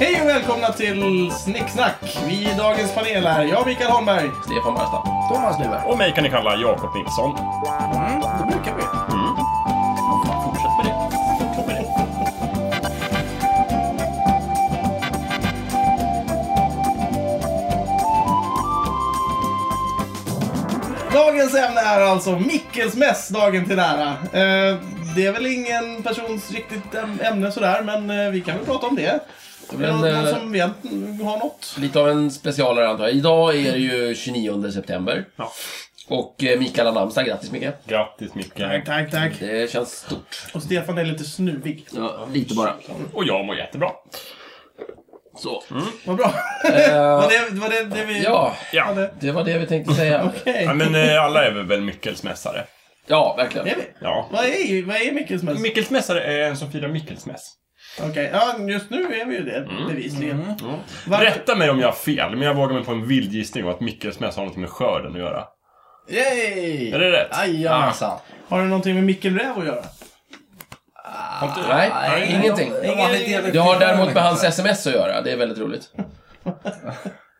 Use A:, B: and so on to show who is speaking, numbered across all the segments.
A: Hej och välkomna till Snicksnack! Vi i dagens panel är jag, Mikael Holmberg. Stefan Barstam. Thomas Nyberg.
B: Och mig kan ni kalla Jakob Nilsson.
A: Mm, det brukar vi.
B: Fortsätt med det. Fortsätt med det.
A: Dagens ämne är alltså Mickels mess, dagen till ära. Eh, det är väl ingen persons riktigt äm- ämne sådär, men eh, vi kan väl prata om det. Det är
C: Men,
A: någon, någon
C: eh,
A: som vet, mm, har något.
C: Lite av en specialare antar jag. Idag är det ju 29 september.
B: Ja.
C: Och eh, Mikael har namnsdag. Grattis Mikael.
B: Grattis Micke.
A: tack, tack.
C: Det känns stort.
A: Och Stefan är lite snuvig.
C: Ja, lite bara.
B: Och jag mår jättebra.
C: Så. Eh,
A: Vad bra. var det var det, det vi
C: Ja,
B: Ja.
A: hade?
C: det var det vi tänkte säga.
A: Okej.
B: ja men eh, alla är väl Mickelsmässare?
C: Ja,
A: Det är
C: verkligen.
A: vi.
B: Ja.
A: Vad är, vad är Mickels mess?
B: Mickelsmässare är en som firar Mickelsmäss.
A: Okej, ja, just nu är vi ju det,
C: Mm.
A: bevisligen. Varför-
B: Rätta mig om jag har fel, men jag vågar mig på en vild gissning om att Mickelsmäss har något med skörden att göra.
D: Yay!
B: Är det rätt?
D: Jajamensan.
A: Har det någonting med Mickel Räv att göra?
B: Har inte-
C: Nej, ingenting.
D: De har lite
A: Ingen-
C: Det har däremot
D: dialekter.
C: med hans sms att göra. Det är väldigt roligt.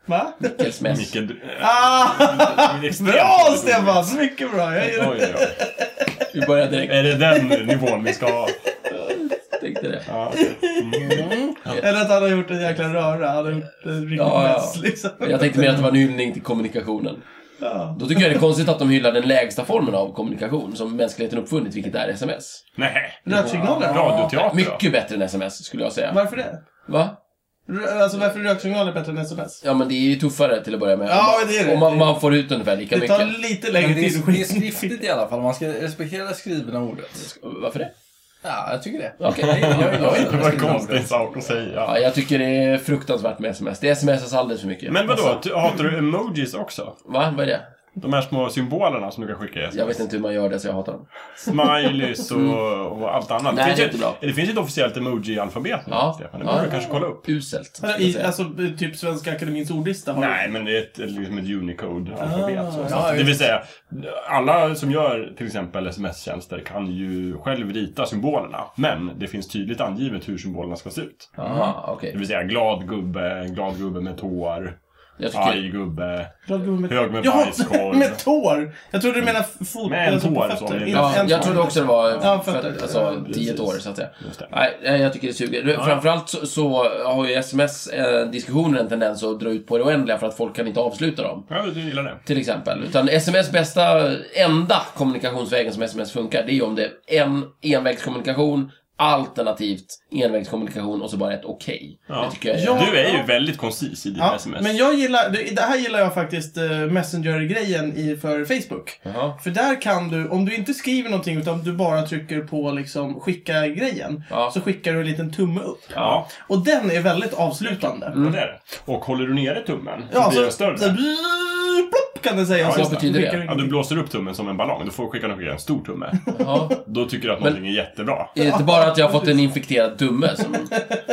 A: Va?
C: Mickels mess.
B: Micke, du... eh,
A: Ah,
B: du är extremt
A: bra
B: rolig.
A: Stefan! Mycket bra! Jag gillar
B: Oj,
A: det.
B: oj, oj.
C: Vi börjar direkt.
B: Är det den nivån vi ska ha?
C: Tänkte det.
B: Ja, okej.
A: Eller att han har gjort en jäkla röra. Han har gjort en riktig
C: Ja, ja.
A: mess liksom.
C: Jag tänkte mer att det var en hyllning till kommunikationen.
A: Ja.
C: Då tycker jag det är konstigt att de hyllar den lägsta formen av kommunikation som mänskligheten uppfunnit, vilket är sms.
B: Nej.
A: Röksignaler?
B: Radioteater då?
C: Mycket bättre än sms, skulle jag säga.
A: Varför det?
C: Va?
A: Rö- Alltså varför är röksignaler bättre än sms?
C: Ja, men det är ju tuffare till att börja med.
A: Ja,
C: Om man-
A: det är det.
C: Om man, man får ut ungefär lika
A: Det tar
C: mycket.
A: lite
D: Men
A: längre
D: det,
A: tid
D: är,
A: att
D: det är
A: skicka.
D: skriftligt i alla fall. Man ska respektera det skrivna ordet.
C: Varför det?
D: Ja, jag tycker det.
C: Okej.
D: Jag, jag, jag,
B: Det var en konstig sak att säga.
C: Ja, jag tycker det är fruktansvärt med sms. Det smsas alldeles för mycket. Alltså,
B: Men vadå, ty- hatar du emojis också?
C: Va? Vad är det?
B: De här små symbolerna som du kan skicka i
C: Jag vet inte hur man gör det, så jag hatar dem.
B: Smileys och, och allt annat.
C: Nej,
B: finns
C: det är
B: ju-
C: inte bra.
B: det finns ju ett officiellt emoji-alfabet nu,
C: Ja.
B: Stefan. Det borde
C: Ja.
B: du kanske kolla upp.
C: Uselt. skulle
A: Alltså,
C: jag
A: i,
C: säga.
A: alltså typ Svenska Akademins ordlista har
B: Nej, men det är ett, liksom ett Unicode-alfabet.
A: Ah.
B: så.
D: Ja,
B: det vill säga, alla som gör till exempel sms-tjänster kan ju själv rita symbolerna. Men det finns tydligt angivet hur symbolerna ska se ut.
C: Aha, okej.
B: Det vill säga glad gubbe, glad gubbe med tår,
C: Jag tycker...
B: arg gubbe,
A: Glad gubbe med-
B: hög med
A: Jaha,
B: bajskorv.
A: med tår! Jag trodde du menade fot...
B: Med en
A: alltså, på
B: tår
A: fötter.
B: så.
A: Inte
C: Ja,
A: en
C: jag
A: tår.
C: trodde också det var
A: Ja,
C: för,
A: fattar.
C: alltså,
B: Ja,
C: tio
B: precis.
C: år, så att säga.
B: Just det.
C: Nej, nej, jag tycker det suger. Framförallt så, så har ju sms-diskussioner en tendens att dra ut på det oändliga för att folk kan inte avsluta dem.
B: Ja, du gillar det.
C: Till exempel. Utan sms bästa, enda kommunikationsvägen som sms funkar, det är ju om det är en envägskommunikation, alternativt envägskommunikation och så bara ett okej.
B: Ja.
C: Det tycker jag är...
A: Ja.
B: Du är ju väldigt koncis i dina
A: Ja,
B: sms.
A: men jag gillar, det det här gillar jag faktiskt eh, Messenger-grejen i, för Facebook.
C: Jaha.
A: För där kan du, om du inte skriver någonting utan du bara trycker på liksom skicka-grejen,
C: Ja.
A: så skickar du en liten tumme upp.
B: Ja.
A: Och den är väldigt avslutande.
B: Ja, det är det. Och håller du nere tummen så
A: Mm. Ja,
B: blir
A: så, så,
B: den större.
A: blir- plopp kan den säga.
B: Ja,
A: och så
B: vad
C: betyder det?
A: skickar du-
B: Ja, du blåser upp tummen som en ballong. Då får skickar den skicka en stor tumme.
C: Ja.
B: Då tycker du att någonting är jättebra.
C: Är det inte bara att jag har fått en infekterad dumme som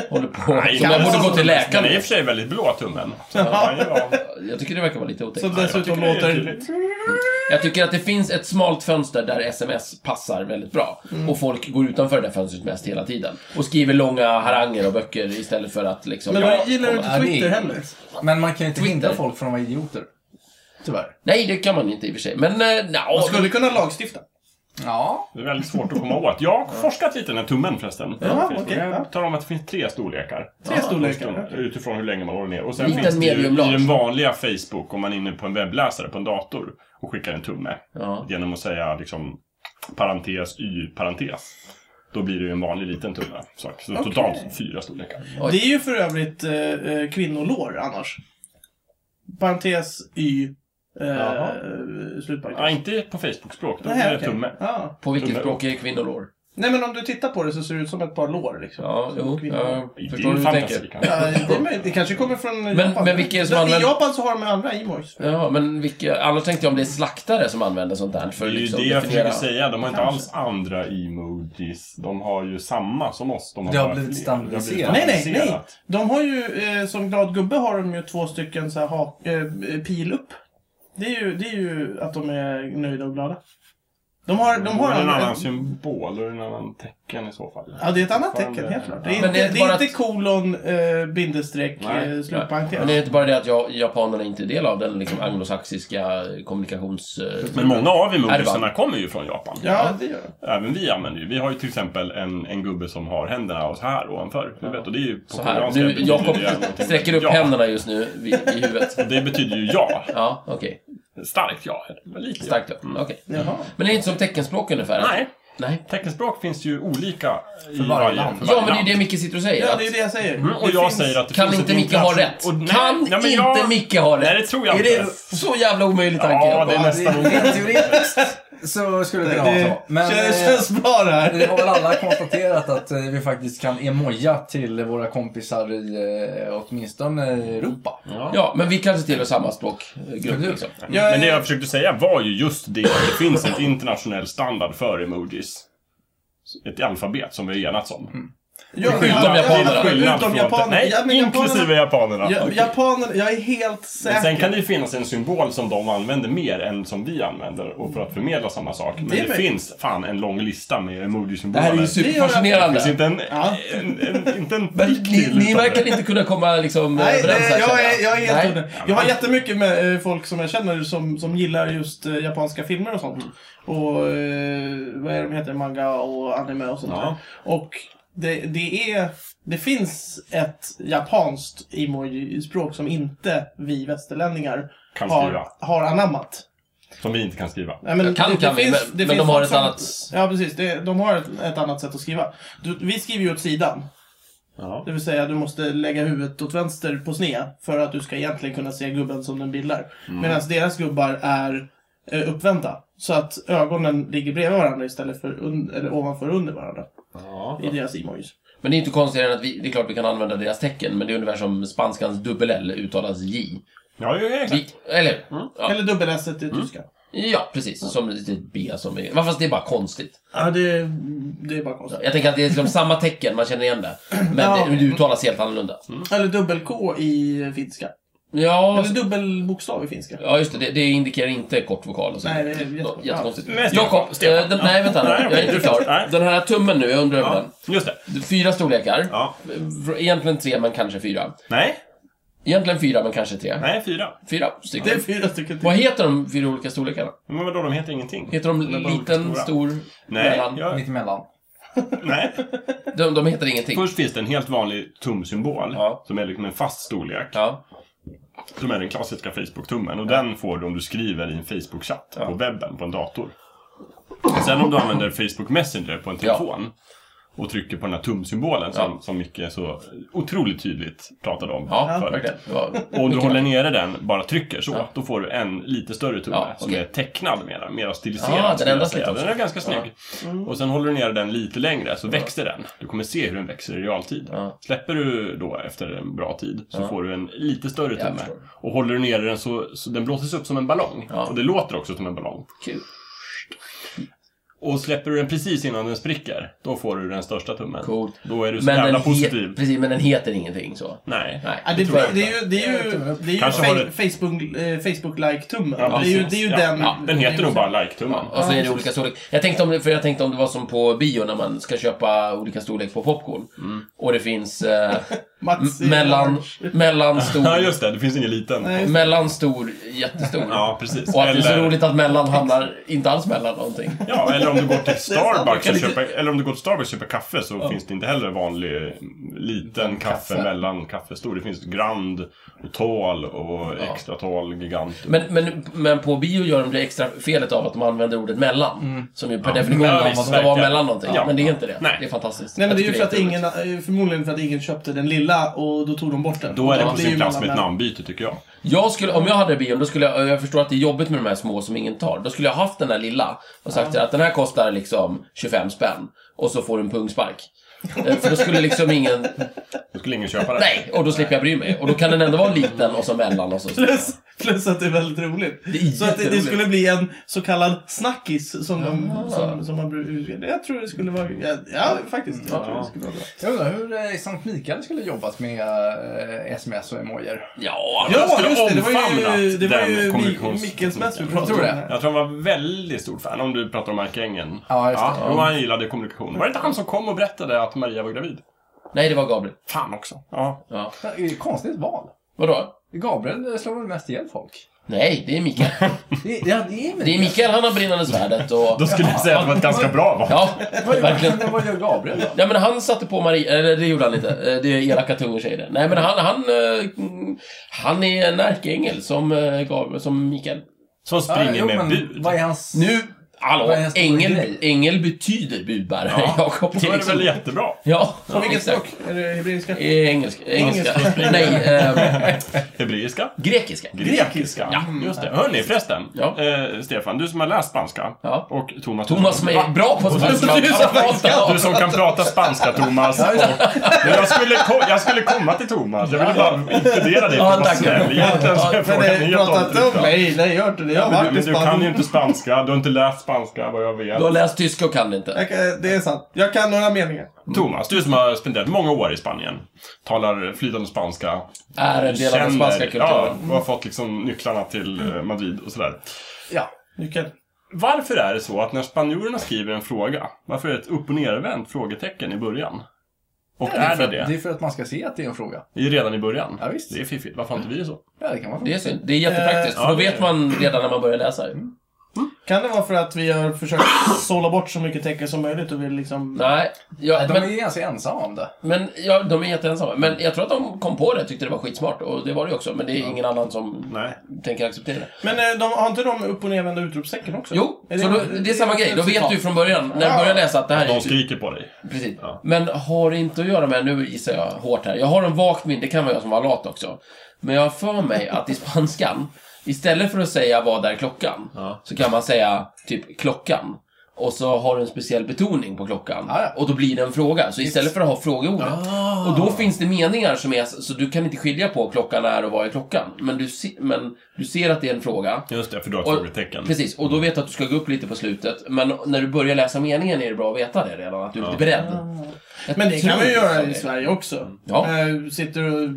C: håller på... som jag
B: det
C: borde
B: är
C: gå till läkaren
B: alltså, Den är i och
C: med.
B: för sig väldigt blå, tummen. Så den kan ju vara-
A: Typ
C: Jag tycker det verkar vara lite otäckt.
A: Som dessutom
B: tycker det är
A: låter...
B: tydligt.
C: Jag tycker att det finns ett smalt fönster där sms passar väldigt bra.
A: Mm.
C: Och folk går utanför det där fönstret mest hela tiden. Och skriver långa haranger och böcker istället för att liksom...
A: Men
C: Ja,
A: vad gillar du
C: komma-
A: inte Twitter
D: Ja, det är-
A: heller?
D: Men man kan ju inte
C: Twitter.
D: hindra folk från att vara idioter. Tyvärr.
C: Nej, det kan man inte i och för sig. Men, eh, nja,
A: Man skulle kunna lagstifta.
D: Ja.
B: Det är väldigt svårt att komma åt. Jag har forskat lite i den här tummen förresten.
A: Ja,
B: Jag
A: okej, ja.
B: talar om att det finns tre storlekar.
A: Tre storlekar.
B: Utifrån- Utifrån hur länge man håller ner. Och sen
C: Liten,
B: finns det ju
C: medium, large.
B: i den vanliga Facebook, om man är inne på en webbläsare på en dator och skickar en tumme.
C: Ja.
B: Genom att säga liksom parentes, y, parentes. Då blir det ju en vanlig liten tumme. Så, så
A: Okej.
B: totalt fyra storlekar.
C: Oj.
A: Det är ju för övrigt eh, eh, kvinnolår annars. Parentes Y. Eh,
B: Jaha.
A: slutparentes.
B: Ja, inte på Facebook-språk. Då
A: Nej,
B: är det
A: okej.
B: tumme.
A: Ja.
C: På vilket
B: Tumme
C: språk är kvinnolår?
A: Nej men om du tittar på det så ser det ut som ett par lår liksom.
C: Ja,
B: Alltså,
C: jo,
A: Kvinnolår.
C: jag
B: I
C: förstår hur
B: din
C: du
B: fantasi
C: tänker.
B: kanske.
A: Ja, det, är möjligt. det kanske kommer från Japan.
C: men vilka är det som
A: I
C: använder-
A: Japan så har de andra emojis.
C: Ja, men vilka, annars tänkte jag om det är slaktare som använder sånt där för
B: Det är
C: att
B: ju
C: liksom
B: det jag försöker
C: definiera...
B: säga. De har inte
A: Kanske.
B: alls andra emojis. De har ju samma som oss. De
D: Det har
B: bara
D: blivit
B: fler. Det har blivit
D: standardiserat.
A: Nej, nej, nej.
B: standardiserat.
A: De har ju, eh, som glad gubbe har de ju två stycken så här, ha, eh, pil upp. Det är, ju, det är ju att de är nöjda och glada. De har, de
B: De har
A: har
B: en
A: en-
B: annan symbol och en annan tecken i så fall.
A: Ja, det är ett annat tecken helt klart. Det är
C: Men det
A: inte,
C: är inte
A: det är
C: bara
A: inte
C: att-
A: kolon, eh, bindestreck,
B: Nej.
A: eh,
C: Men
A: slutparentes.
C: det är inte bara det att jag, japanerna inte är del av den liksom, anglosaxiska kommunikations... eh,
B: Men många av emojisarna
C: Erban.
B: kommer ju från Japan.
A: Ja, det gör det.
B: Även vi använder ju. Vi har ju till exempel en, en gubbe som har händerna och så här ovanför huvudet. Och det är ju på
C: Så här.
B: koreanska
C: Nu,
B: betyder
C: Jakob
B: det någonting-
C: sträcker upp
B: ja.
C: händerna just nu vid, i huvudet.
B: Och det betyder ju ja.
C: Ja, okej.
B: Starkt ja. Eller Lite ja. Mm.
C: Starkt ja. Okej.
A: Jaha.
C: Men det är inte som teckenspråk ungefär?
B: Nej.
C: Nej.
B: Teckenspråk finns ju olika i
D: varje land.
B: för
C: Ja,
B: varje
C: men det är
B: land.
C: det Micke sitter och säger.
A: Ja,
C: att-
A: det är det jag säger.
B: Mm, och
A: Det
B: jag
A: finns-
B: säger att det
C: Kan
B: finns
C: inte
B: ett
C: Micke ha
B: internationellt-
C: rätt?
B: Och nej,
C: kan
B: nej, men
C: inte
B: jag-
C: Micke ha rätt?
B: Nej, det tror jag
C: Är
B: inte.
C: det så jävla omöjlig tanke?
B: Ja, det är
C: Jakob?
B: nästan
D: Rent teoretiskt så skulle det kunna vara
A: Det
D: så. Men
A: känns,
D: eh,
A: känns bra det här.
D: det har väl alla konstaterat att eh, vi faktiskt kan emoja till våra kompisar i eh, åtminstone Europa.
C: Ja, men vi kanske tillhör samma språkgrupp liksom.
A: Jag-
B: Men det jag försökte säga var ju just det att det finns en internationell standard för emojis. Ett alfabet som vi har enats om.
A: Ja,
C: Utom
A: ja,
C: japanerna.
A: ja, Utom
B: från-
A: japanerna.
B: Nej,
A: Ja, men
B: inklusive japanerna.
A: Ja, Japanerna, jag är helt
B: Men
A: säker.
B: sen kan det ju finnas en symbol som de använder mer än som vi använder och för att förmedla samma sak. Men
A: Det är
B: det,
A: väl-
B: finns fan en lång lista med
C: Det här är
B: emoji-symboler.
C: ju
B: Det finns
C: superfascinerande.
B: inte en...
A: Ja.
B: en, en inte en
C: Men
B: prick
C: Ni,
B: till
C: ni
B: utan
C: verkar
B: det.
C: inte kunna komma liksom,
A: Nej,
C: överens
A: det,
C: här,
A: jag,
C: känner
A: är, jag är helt
C: Nej.
A: under. Jag har jättemycket med eh, folk som jag känner som, som gillar just eh, japanska filmer och sånt.
B: Mm.
A: Och eh, vad är det de heter? Manga och anime och sånt
B: Ja.
A: där. Och det, det är... Det finns ett japanskt emoji-språk som inte vi västerlänningar
B: Kan skriva.
A: har, har anammat.
B: Som vi inte kan skriva.
A: Nej, men
C: Ja, kan- kan vi, men- men de
A: finns
C: har
A: folk
C: ett
A: som-
C: annat-
A: Ja, precis. Det, de har ett, ett annat sätt att skriva. Du, vi skriver ju åt sidan.
B: Ja.
A: Det vill säga, du måste lägga huvudet åt vänster på sned för att du ska egentligen kunna se gubben som den bildar.
C: Mm.
A: Medan deras gubbar är eh, uppvända. Så att ögonen ligger bredvid varandra istället för un- eller ovanför och under varandra.
B: Ja.
A: I deras emojis.
C: Men det är inte konstigare än att vi, det är klart vi kan använda deras tecken, men det är ungefär som spanskans dubbel-L uttalas J.
B: Ja, ju, exakt.
C: Vi, eller ja. Mm.
A: Eller dubbel-s i tyska.
C: ja, precis. Som ett litet B som är... Varför det är bara konstigt.
A: Ja, det, det är bara konstigt.
C: Jag tänker att det är liksom samma tecken, man känner igen det. Men
A: Ja. Mm.
C: det, det uttalas helt annorlunda.
A: Eller dubbel-k i finska.
C: Ja,
A: Eller dubbelbokstav i finska.
C: ja just det, det. Det indikerar inte kort vokal och så.
A: Nej, det är jätte-
C: Nå- Jättekonstigt.
B: Men Stefan,
C: Jakob,
B: Stefan.
C: eh, den, nej vänta nu.
B: Nej,
C: Jag är inte
B: du-
C: klar.
B: nej.
C: Den här tummen nu, jag undrar över
B: Ja, just det.
C: den. Fyra storlekar.
B: Ja.
C: Egentligen tre, men kanske fyra.
B: Nej,
C: Egentligen fyra, men kanske tre.
B: nej, fyra.
C: Fyra
A: Det är
C: stycken.
A: fyra stycken till.
C: Vad heter de fyra olika storlekarna?
B: Men vadå, de heter ingenting?
C: Heter de
B: De är bara olika
C: liten,
B: stora.
C: stor,
B: nej,
C: mellan?
B: jag,
D: Mittemellan.
B: nej.
C: De, de heter ingenting.
B: Först finns det en helt vanlig tumsymbol
C: Ja.
B: som är liksom en fast storlek.
C: Ja.
B: Som är den klassiska Facebook-tummen. Och den får du om du skriver i en Facebook-chatt på webben, på en dator. Sen om du använder Facebook Messenger på en telefon och trycker på den här tumsymbolen som, som Micke så otroligt tydligt pratade om
C: Ja,
B: förut.
C: verkligen. Det var-
B: Och om du håller nere den, bara trycker så, då får du en lite större tumme
C: Ja,
B: som
C: okej.
B: är tecknad mera, mera stiliserad.
C: Ah, den
B: skulle jag
C: ändras
B: säga.
C: lite också.
B: Den är ganska snygg.
C: Mm.
B: Och sen håller du ner den lite längre så växer den. Du kommer se hur den växer i realtid.
C: Ja.
B: Släpper du då efter en bra tid så får du en lite större
C: Jag
B: tumme.
C: förstår.
B: Och håller du ner den så, så den blåses upp som en ballong.
C: Ja.
B: Och det låter också som en ballong.
C: Kul.
B: Och släpper du den precis innan den spricker, då får du den största tummen.
C: Coolt.
B: Då är du så
C: Men den,
B: jävla
C: he-
B: positiv.
C: precis, men den heter ingenting så.
B: Nej.
C: Nej.
A: Ja, det,
B: tror jag
A: det, är ju, det är ju, det är ju
B: Kanske
A: fa-
B: har det-
A: Facebook, eh, Facebook-like-tummen.
B: Ja,
A: det är ju, det är
B: precis.
A: ju
B: Ja.
A: den...
B: Ja, den heter nog bara like-tummen.
C: Och så är det olika storlek. Jag tänkte, om, det- för jag tänkte om det var som på bio när man ska köpa olika storlek på popcorn.
B: Mm.
C: Och det finns eh,
A: Mats
C: m- mellan, mellan
B: Ja,
C: stor,
B: just det. Det finns ingen liten.
A: Nej, just det.
C: mellan stor, jättestor.
B: Ja, precis.
C: Och att det är så roligt att mellan hamnar inte alls mellan någonting.
B: Ja, eller om du går till Starbucks och
C: Kan
B: köper, eller om du går till Starbucks och köper kaffe så finns det inte heller vanlig eh, liten kaffe,
D: Kaffe.
B: mellan kaffestor. Det finns grand och tall och extra tall, gigant.
C: Men, men, men på bio gör de det extra felet av att de använder ordet mellan. Som ju per definition
B: men
C: är vad
B: Mm. visst,
C: man ska vara
B: verkligen.
C: mellan någonting.
B: Ja.
C: Men det är inte det.
B: Nej.
C: Det är fantastiskt.
A: Nej, men
C: Jag
A: det är ju
C: tycker
A: för att
C: jätteroligt.
A: ingen, eh, förmodligen för att ingen köpte den lilla och då tog de bort den.
B: Då är det
A: Ja,
B: på
A: ju
B: sin plats med ett
A: mellan-
B: namnbyte tycker jag.
C: Jag skulle, om jag hade bion, då skulle jag, jag förstår att det är jobbigt med de här små som ingen tar. Då skulle jag haft den här lilla och sagt att den här kostar liksom 25 spänn. Och så får du en pungspark. Eh, För då skulle liksom ingen,
B: Då skulle ingen köpa det.
C: nej, och då slipper jag bry mig. Och då kan den ändå vara liten och så mellan och så.
A: Plus, Plus att det är väldigt roligt.
C: Det är
A: Så att det, det
C: jätteroligt.
A: skulle bli en så kallad snackis som, de,
C: Ah.
A: som, som man brukar... Jag tror det skulle vara... Ja, ja faktiskt. Jag tror det skulle vara bra.
D: Jag undrar hur eh, Sankt Mikael skulle jobbat med eh, sms och emojier.
C: Ja,
A: Ja,
B: skulle
A: just det. Det var ju,
B: omfamnat
A: det var
B: den
A: ju Mi-
B: kommunikations-
A: Mickels mest vi pratade
D: Tror
A: om.
D: det.
A: här.
B: Jag tror han var väldigt stort fan om du pratar om Mark Engen.
D: Ja, just det.
B: Ja, och han gillade kommunikation. Var det inte han som kom och berättade att Maria var gravid?
C: Nej, det var Gabriel.
B: Fan också. Ja.
C: Ja.
D: Det är ett konstigt val.
C: Vadå?
D: Gabriel eh, slår väl mest ihjäl folk?
C: Nej, det är Mikael.
D: Det, ja, det är väl
C: Det är Mikael, han har brinnande svärdet och...
B: Då skulle jag säga att det var ett ganska bra val.
C: Ja,
D: Vad gör-
C: verkligen.
D: Vad gör Gabriel då?
C: Ja, men han satte på Maria, eller det gjorde han inte. Eh, Det är elaka tungor säger det. Nej, men han, han, eh, mm, han är en ärkeängel som, eh, Gabriel, som Mikael.
B: Som springer
D: Ja, jo,
B: med
D: men
B: bud.
D: Vad är hans...
C: Nu, hallå,
D: Vad är en stor
C: ängel,
D: grej?
C: ängel betyder budbärare,
B: Ja,
C: Jakob.
B: Då är det väl jättebra.
C: Ja,
A: På vilket
C: exakt.
A: språk? Är det hebreiska?
C: Eh, Engelska. engelska. Nej, eh,
B: Hebreiska?
C: grekiska.
B: Grekiska?
C: Ja.
B: Just det. Hörni, förresten.
C: Ja.
B: Eh, Stefan, du som har läst spanska.
C: Ja.
B: Och Thomas.
C: Thomas som är bra på spanska.
A: Du som
B: Du som kan prata spanska, Thomas. Och, Men jag, skulle ko- jag skulle komma till Thomas. Jag ville bara inkludera dig,
C: Ja,
B: Thomas
C: tack.
B: Snell. Egentligen så är
A: Men
B: frågan
A: det
B: helt
A: pratar inte om
B: avslutad.
A: mig. Nej, jag har inte det. Jag har
B: Men du,
A: varit i
B: men du kan ju
A: Spanien.
B: inte spanska, du har inte läst spanska vad jag
C: Du har
B: vet.
C: läst tyska och kan det inte.
A: Jag kan- Det är sant. Jag kan några meningar.
B: Thomas, du som har spenderat många år i Spanien, talar flytande spanska.
C: Är en del av den spanska
B: Ja,
C: kulturen.
B: och har fått liksom nycklarna till eh, Madrid och sådär.
D: Ja.
A: Nyckeln.
B: Varför är det så att när spanjorerna skriver en fråga, varför är det ett upp och nervänt frågetecken i början? Och är
D: för,
B: det det?
D: det är för att man ska se att det är en fråga.
B: Det är redan i början.
D: Ja, visst.
B: Det är fiffigt. Varför har inte vi det så?
D: Ja, det kan man få.
C: Det är synd. Det är jättepraktiskt,
B: Eh,
C: för då
B: ja, det-
C: vet man redan när man börjar läsa. ju.
A: Kan det vara för att vi har försökt sålla bort så mycket tecken som möjligt och vill liksom...
C: Nej, ja,
D: De är
C: men,
D: ju ganska ensamma om det.
C: men ja, de är jätteensamma. Men jag tror att de kom på det tyckte det var skitsmart. Och det var det ju också, men det är ingen annan som
B: Nej.
C: tänker acceptera det.
A: Men eh, de, har inte de upp och nervända utropstecken också?
C: Jo,
A: Är
C: så då, det är samma grej. Då vet du ju från början, när du börjar läsa att det här
B: De
C: är...
B: skriker på dig.
C: Precis.
B: Ja.
C: Men har det inte att göra med, nu gissar jag hårt här, jag har en vagt minne, det kan vara jag som var lat också. Men jag har för mig att i spanskan, istället för att säga vad är klockan,
B: Ja.
C: så kan man säga typ klockan. Och så har du en speciell betoning på klockan.
D: Ja, ja.
C: Och då blir det en fråga. Så istället för att ha frågeordet. Och då finns det meningar som är, så du kan inte skilja på klockan är och vad är klockan. Men du, se, men du ser att det är en fråga.
B: Just det, för du har ett
C: Och-
B: frågetecken.
C: Precis, och då
B: Mm.
C: vet du att du ska gå upp lite på slutet. Men när du börjar läsa meningen är det bra att veta det redan, att du är lite beredd. Jag
A: Men det
C: tror
A: kan vi ju göra
C: det.
A: i Sverige också.
C: Ja.
A: Eh, sitter och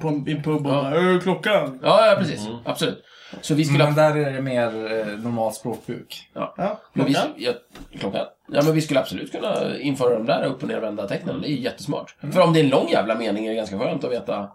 A: på en, i en pub och bara "Ö, klockan.
C: Ja, ja precis.
B: Mm.
C: Absolut. Så vi skulle
D: Men
A: Mm.
C: ha...
D: där är det mer eh, normalt språkbruk.
A: Ja,
C: Men vi,
A: klockan.
C: ja, klockan. Ja, men vi skulle absolut kunna införa de där upp och nervända tecknen. Det är ju jättesmart.
B: Mm.
C: För om det är en lång jävla mening är det ganska skönt att veta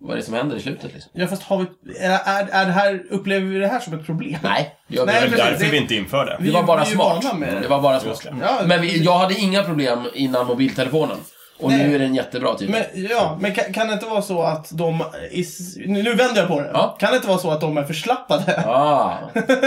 C: vad det är som händer i slutet. Liksom.
A: Ja, fast har vi... Är, är, är det här, upplever vi det här som ett problem?
C: Nej, det gör vi
A: Nej,
B: Det är
C: inte.
A: precis.
B: därför
A: Det-
B: vi inte inför det.
A: Vi-
C: Det var bara
A: ju
C: smart.
A: vana med det.
C: Det var bara
B: Just
C: smart.
B: det.
A: Ja,
C: Men vi, jag hade inga problem innan mobiltelefonen. Och
A: Nej.
C: nu är den jättebra typ.
A: Men, ja, men kan, kan det inte vara så att de... is- nu nu vänder jag på det.
C: Ja.
A: Kan det inte vara så att de är förslappade?
C: Ah.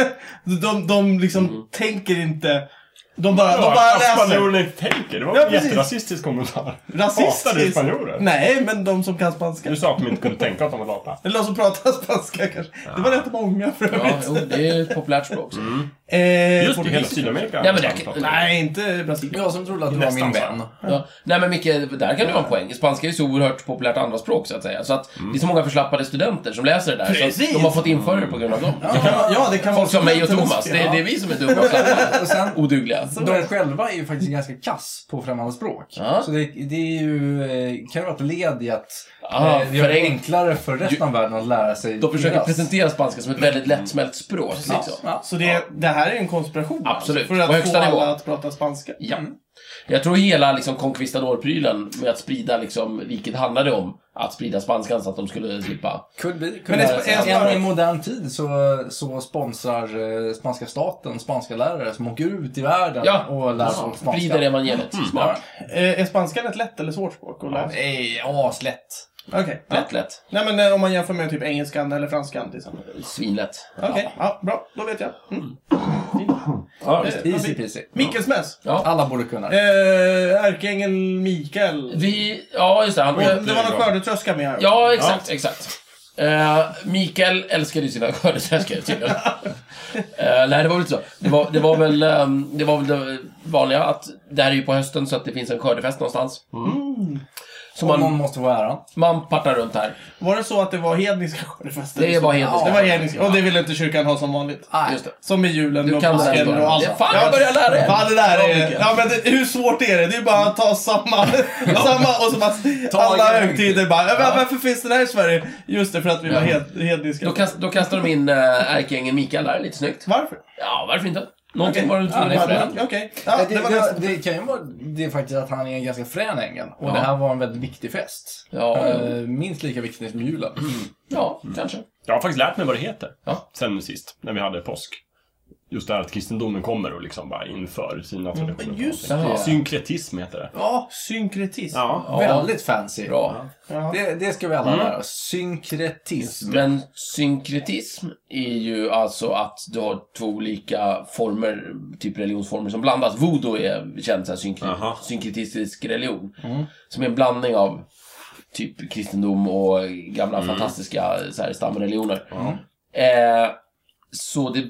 A: De, de liksom
C: Mm.
A: tänker inte... De bara, de bara
B: Ja, att
A: läser.
B: spanjorerna inte tänker. Det var
A: Ja,
B: en
A: precis.
B: jätterasistisk kommentar.
A: Rasistiskt.
B: Hatar du spanjorer?
A: Nej, men de som kan spanska.
B: Du sa att de inte kunde tänka att de var lata.
A: Eller de som pratar spanska kanske. Det var rätt många för övrigt.
C: Ja, jo, det är ett populärt språk. så.
A: Eh,
B: Just det,
A: portugisiska.
B: hela Sydamerika.
C: Ja, men det-
B: Pratar.
A: Nej, inte Brasilien.
D: Jag som trodde att du var
B: Nästan
D: min
B: så.
D: vän.
C: Ja. Nej men Micke, där kan du ha en poäng. Spanska är ju så oerhört populärt andraspråk så att säga. Så att det är så många förslappade studenter som läser det där. Så att
A: Precis.
C: de har fått införa det på grund av dem.
A: Ja, ja, det kan vara
C: Folk som mig och Thomas. Det,
A: Ja.
C: det är vi som är dumma och slappa.
D: Och sen,
C: odugliga.
D: Alltså, de själva är ju faktiskt ganska kass på främmande språk.
C: Ja.
D: Så det, det är ju, eh, kan ju vara ett led i att
C: Ah,
D: eh, göra det
C: förenk-
D: enklare för resten av världen att lära sig
C: De försöker
D: deras.
C: presentera spanska som ett väldigt lättsmält språk.
D: Ja,
C: Liksom.
D: ja.
A: Så det, det här är en konspiration?
C: Absolut.
A: Alltså, för
C: På
A: att få
C: högsta nivå.
A: alla att prata spanska?
C: Ja. Jag tror hela liksom, conquistador-prylen med att sprida liksom, riket handlade om att sprida spanskan så att de skulle slippa.
D: Could be, could
A: Men
D: be.
A: det är sp- är
D: Även
A: spanska-
D: I modern tid så, så sponsrar eh, spanska staten spanska lärare som åker ut i världen
C: Ja.
D: och lär sig spanska.
C: Sprider evangeliet. Smart.
A: Eh, är spanskan ett lätt eller svårt språk att lära sig?
D: Nej, aslätt.
A: Okej. Ja.
C: Lätt, lätt.
A: Nej, men eh, om man jämför med typ engelskan eller franskan till exempel.
C: Svinlätt.
A: Okej, ja, bra. Då vet jag. Mm.
C: Ja,
A: Eh,
C: visst.
A: vad
D: Easy
A: fint.
D: peasy.
A: Mikkels mess.
C: ja.
D: Alla borde kunna det.
A: Eh, Ärkeängel Mikael.
C: Vi, ja, just det. Han,
A: Och Det var någon skördetröska med här.
C: Ja, exakt, exakt. Eh, Mikael älskade ju sina skördetröskor tydligen. Eh, nej, det var väl inte så. Det var, det var väl ehm, det var väl det vanliga att det här är ju på hösten så att det finns en skördefest någonstans. Så
D: man... Någon
C: man,
D: måste få äran.
C: man partar runt här.
A: Var det så att det var hedniska skördefester?
C: Det var hedniska.
A: Det var hedniska. Och det ville inte kyrkan ha som vanligt.
C: Just det.
A: Som i julen
C: Du
A: och
C: kan det här
A: påsken
C: bara.
A: och allt.
C: Det- fan, jag börjar lära er.
A: Fan, det där
C: Ja,
A: är,
C: mycket.
A: ja, men det, hur svårt är det? Det är bara att ta samma, samma och så bara,
D: Ta
A: alla
D: igen.
A: högtider bara. Ja. men Varför finns det här i Sverige? Just det, för att vi var hed, hedniska.
C: Då, kast, då kastar de in äh, ärkeängeln Mikael där, lite snyggt.
A: Varför?
C: Ja, varför inte? Någonting
A: Okej.
C: var du tvungen
A: Ja,
C: efter
A: men-
C: det.
A: Okej. Ja,
D: Eh, det,
A: Ah, det var
D: det,
A: nästan.
D: det kan ju vara det är faktiskt att han är en ganska frän ängel. Och
C: Ja.
D: det här var en väldigt viktig fest.
C: Ja,
D: Eh, Minst lika viktig som julen. Mm.
C: Ja, kanske.
B: Jag har faktiskt lärt mig vad det heter.
C: Ja.
B: Sen sist, när vi hade påsk. Just det här att kristendomen kommer och liksom bara inför sina traditioner.
A: men just
C: det.
B: Synkretism heter det.
A: Ja, synkretism.
B: Ja.
D: Väldigt fancy.
C: Bra.
A: Ja.
D: Det, det ska vi alla lära oss. Synkretism.
C: Men synkretism är ju alltså att du har två olika former, typ religionsformer som blandas. Voodoo är känd som synkre-
B: Aha.
C: synkretistisk religion.
A: Mm.
C: Som är en blandning av typ kristendom och gamla
B: Mm.
C: fantastiska så här, stamreligioner. Eh, så det,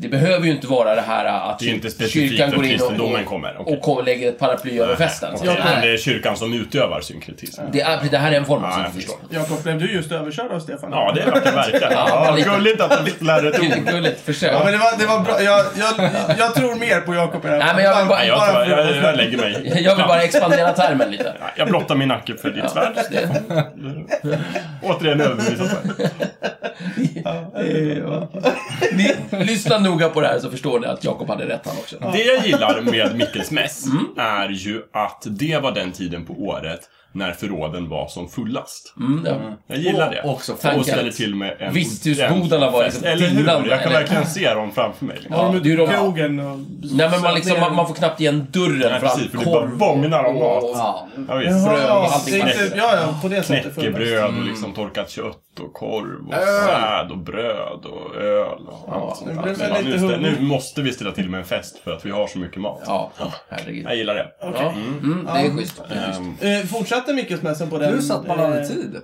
C: det behöver ju inte vara det här att
B: Det är inte
C: kyr-
B: specifikt att kristendomen kommer. Okej.
C: och ko- lägger ett paraply över festen. Så
B: Okej,
C: att det
B: men
C: här-
B: det är kyrkan som utövar synkretism.
C: det, är, det här är en form av
B: Ja, jag
C: synkretism.
A: Jakob, blev du just överkörd av Stefan?
B: Ja, det vart det verkligen.
C: Ja,
B: Ja,
C: lite.
B: gulligt att du lärde ett ord.
C: Gulligt försök.
A: Ja, men det var, det var bra. Jag, jag, jag tror mer på Jakob i det här.
C: Nej, men jag vill bara-
B: Nej, Jag, tror- jag, jag lägger mig.
C: Jag vill bara expandera termen lite.
B: Ja, Jag blottar min nacke för ditt svärd. Återigen alltså. överbevisat mig.
C: Ni, lyssna noga på det här så förstår ni att Jakob hade rätt han också.
B: Det jag gillar med Mikkelsmäss
C: Mm.
B: är ju att det var den tiden på året när förråden var som fullast.
C: Mm, ja.
B: Jag gillar det.
D: Och också
B: och
C: tanken.
B: ställer till med en
C: Visthusbodarna var liksom
B: Eller hur?
C: dinglande,
B: Jag kan
C: eller?
B: verkligen se dem framför mig. Liksom.
C: Ja,
A: Har
C: det är ju
A: de
C: de-
A: ut krogen och...
C: Nej men man, liksom, man, man får knappt igen dörren
B: Nej,
C: för
B: precis,
C: all
B: för det bara
C: korv.
B: bågnar av mat.
D: Ja.
B: Ja, visst.
A: Jaha,
C: frön och
A: ja,
C: allting
A: det är
C: fanns.
A: inte, ja, ja, på det sättet.
B: Knäckebröd och liksom torkat kött och korv och säd och bröd och öl och allt sånt
A: nu
B: där.
A: blev jag
B: Men ja,
A: lite
B: nu, stä-
A: hungrig.
B: nu måste vi ställa till med en fest för att vi har så mycket mat.
C: Ja, herregud.
B: Jag gillar det.
C: Ja. Mm, det är schysst. Det är schysst.
B: Ehm,
A: Eh, fortsatte Mikkelsmässan på den?
D: Nu satt man aldrig
A: eh,
D: tid.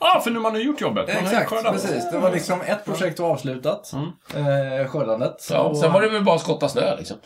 B: Ja, för nu man har gjort jobbet. Man har
D: Exakt,
B: skördat.
D: precis. Det var liksom ett projekt var avslutat. Eh, skördandet.
C: Ja,
D: Och-
C: sen var det väl bara att skotta snö liksom.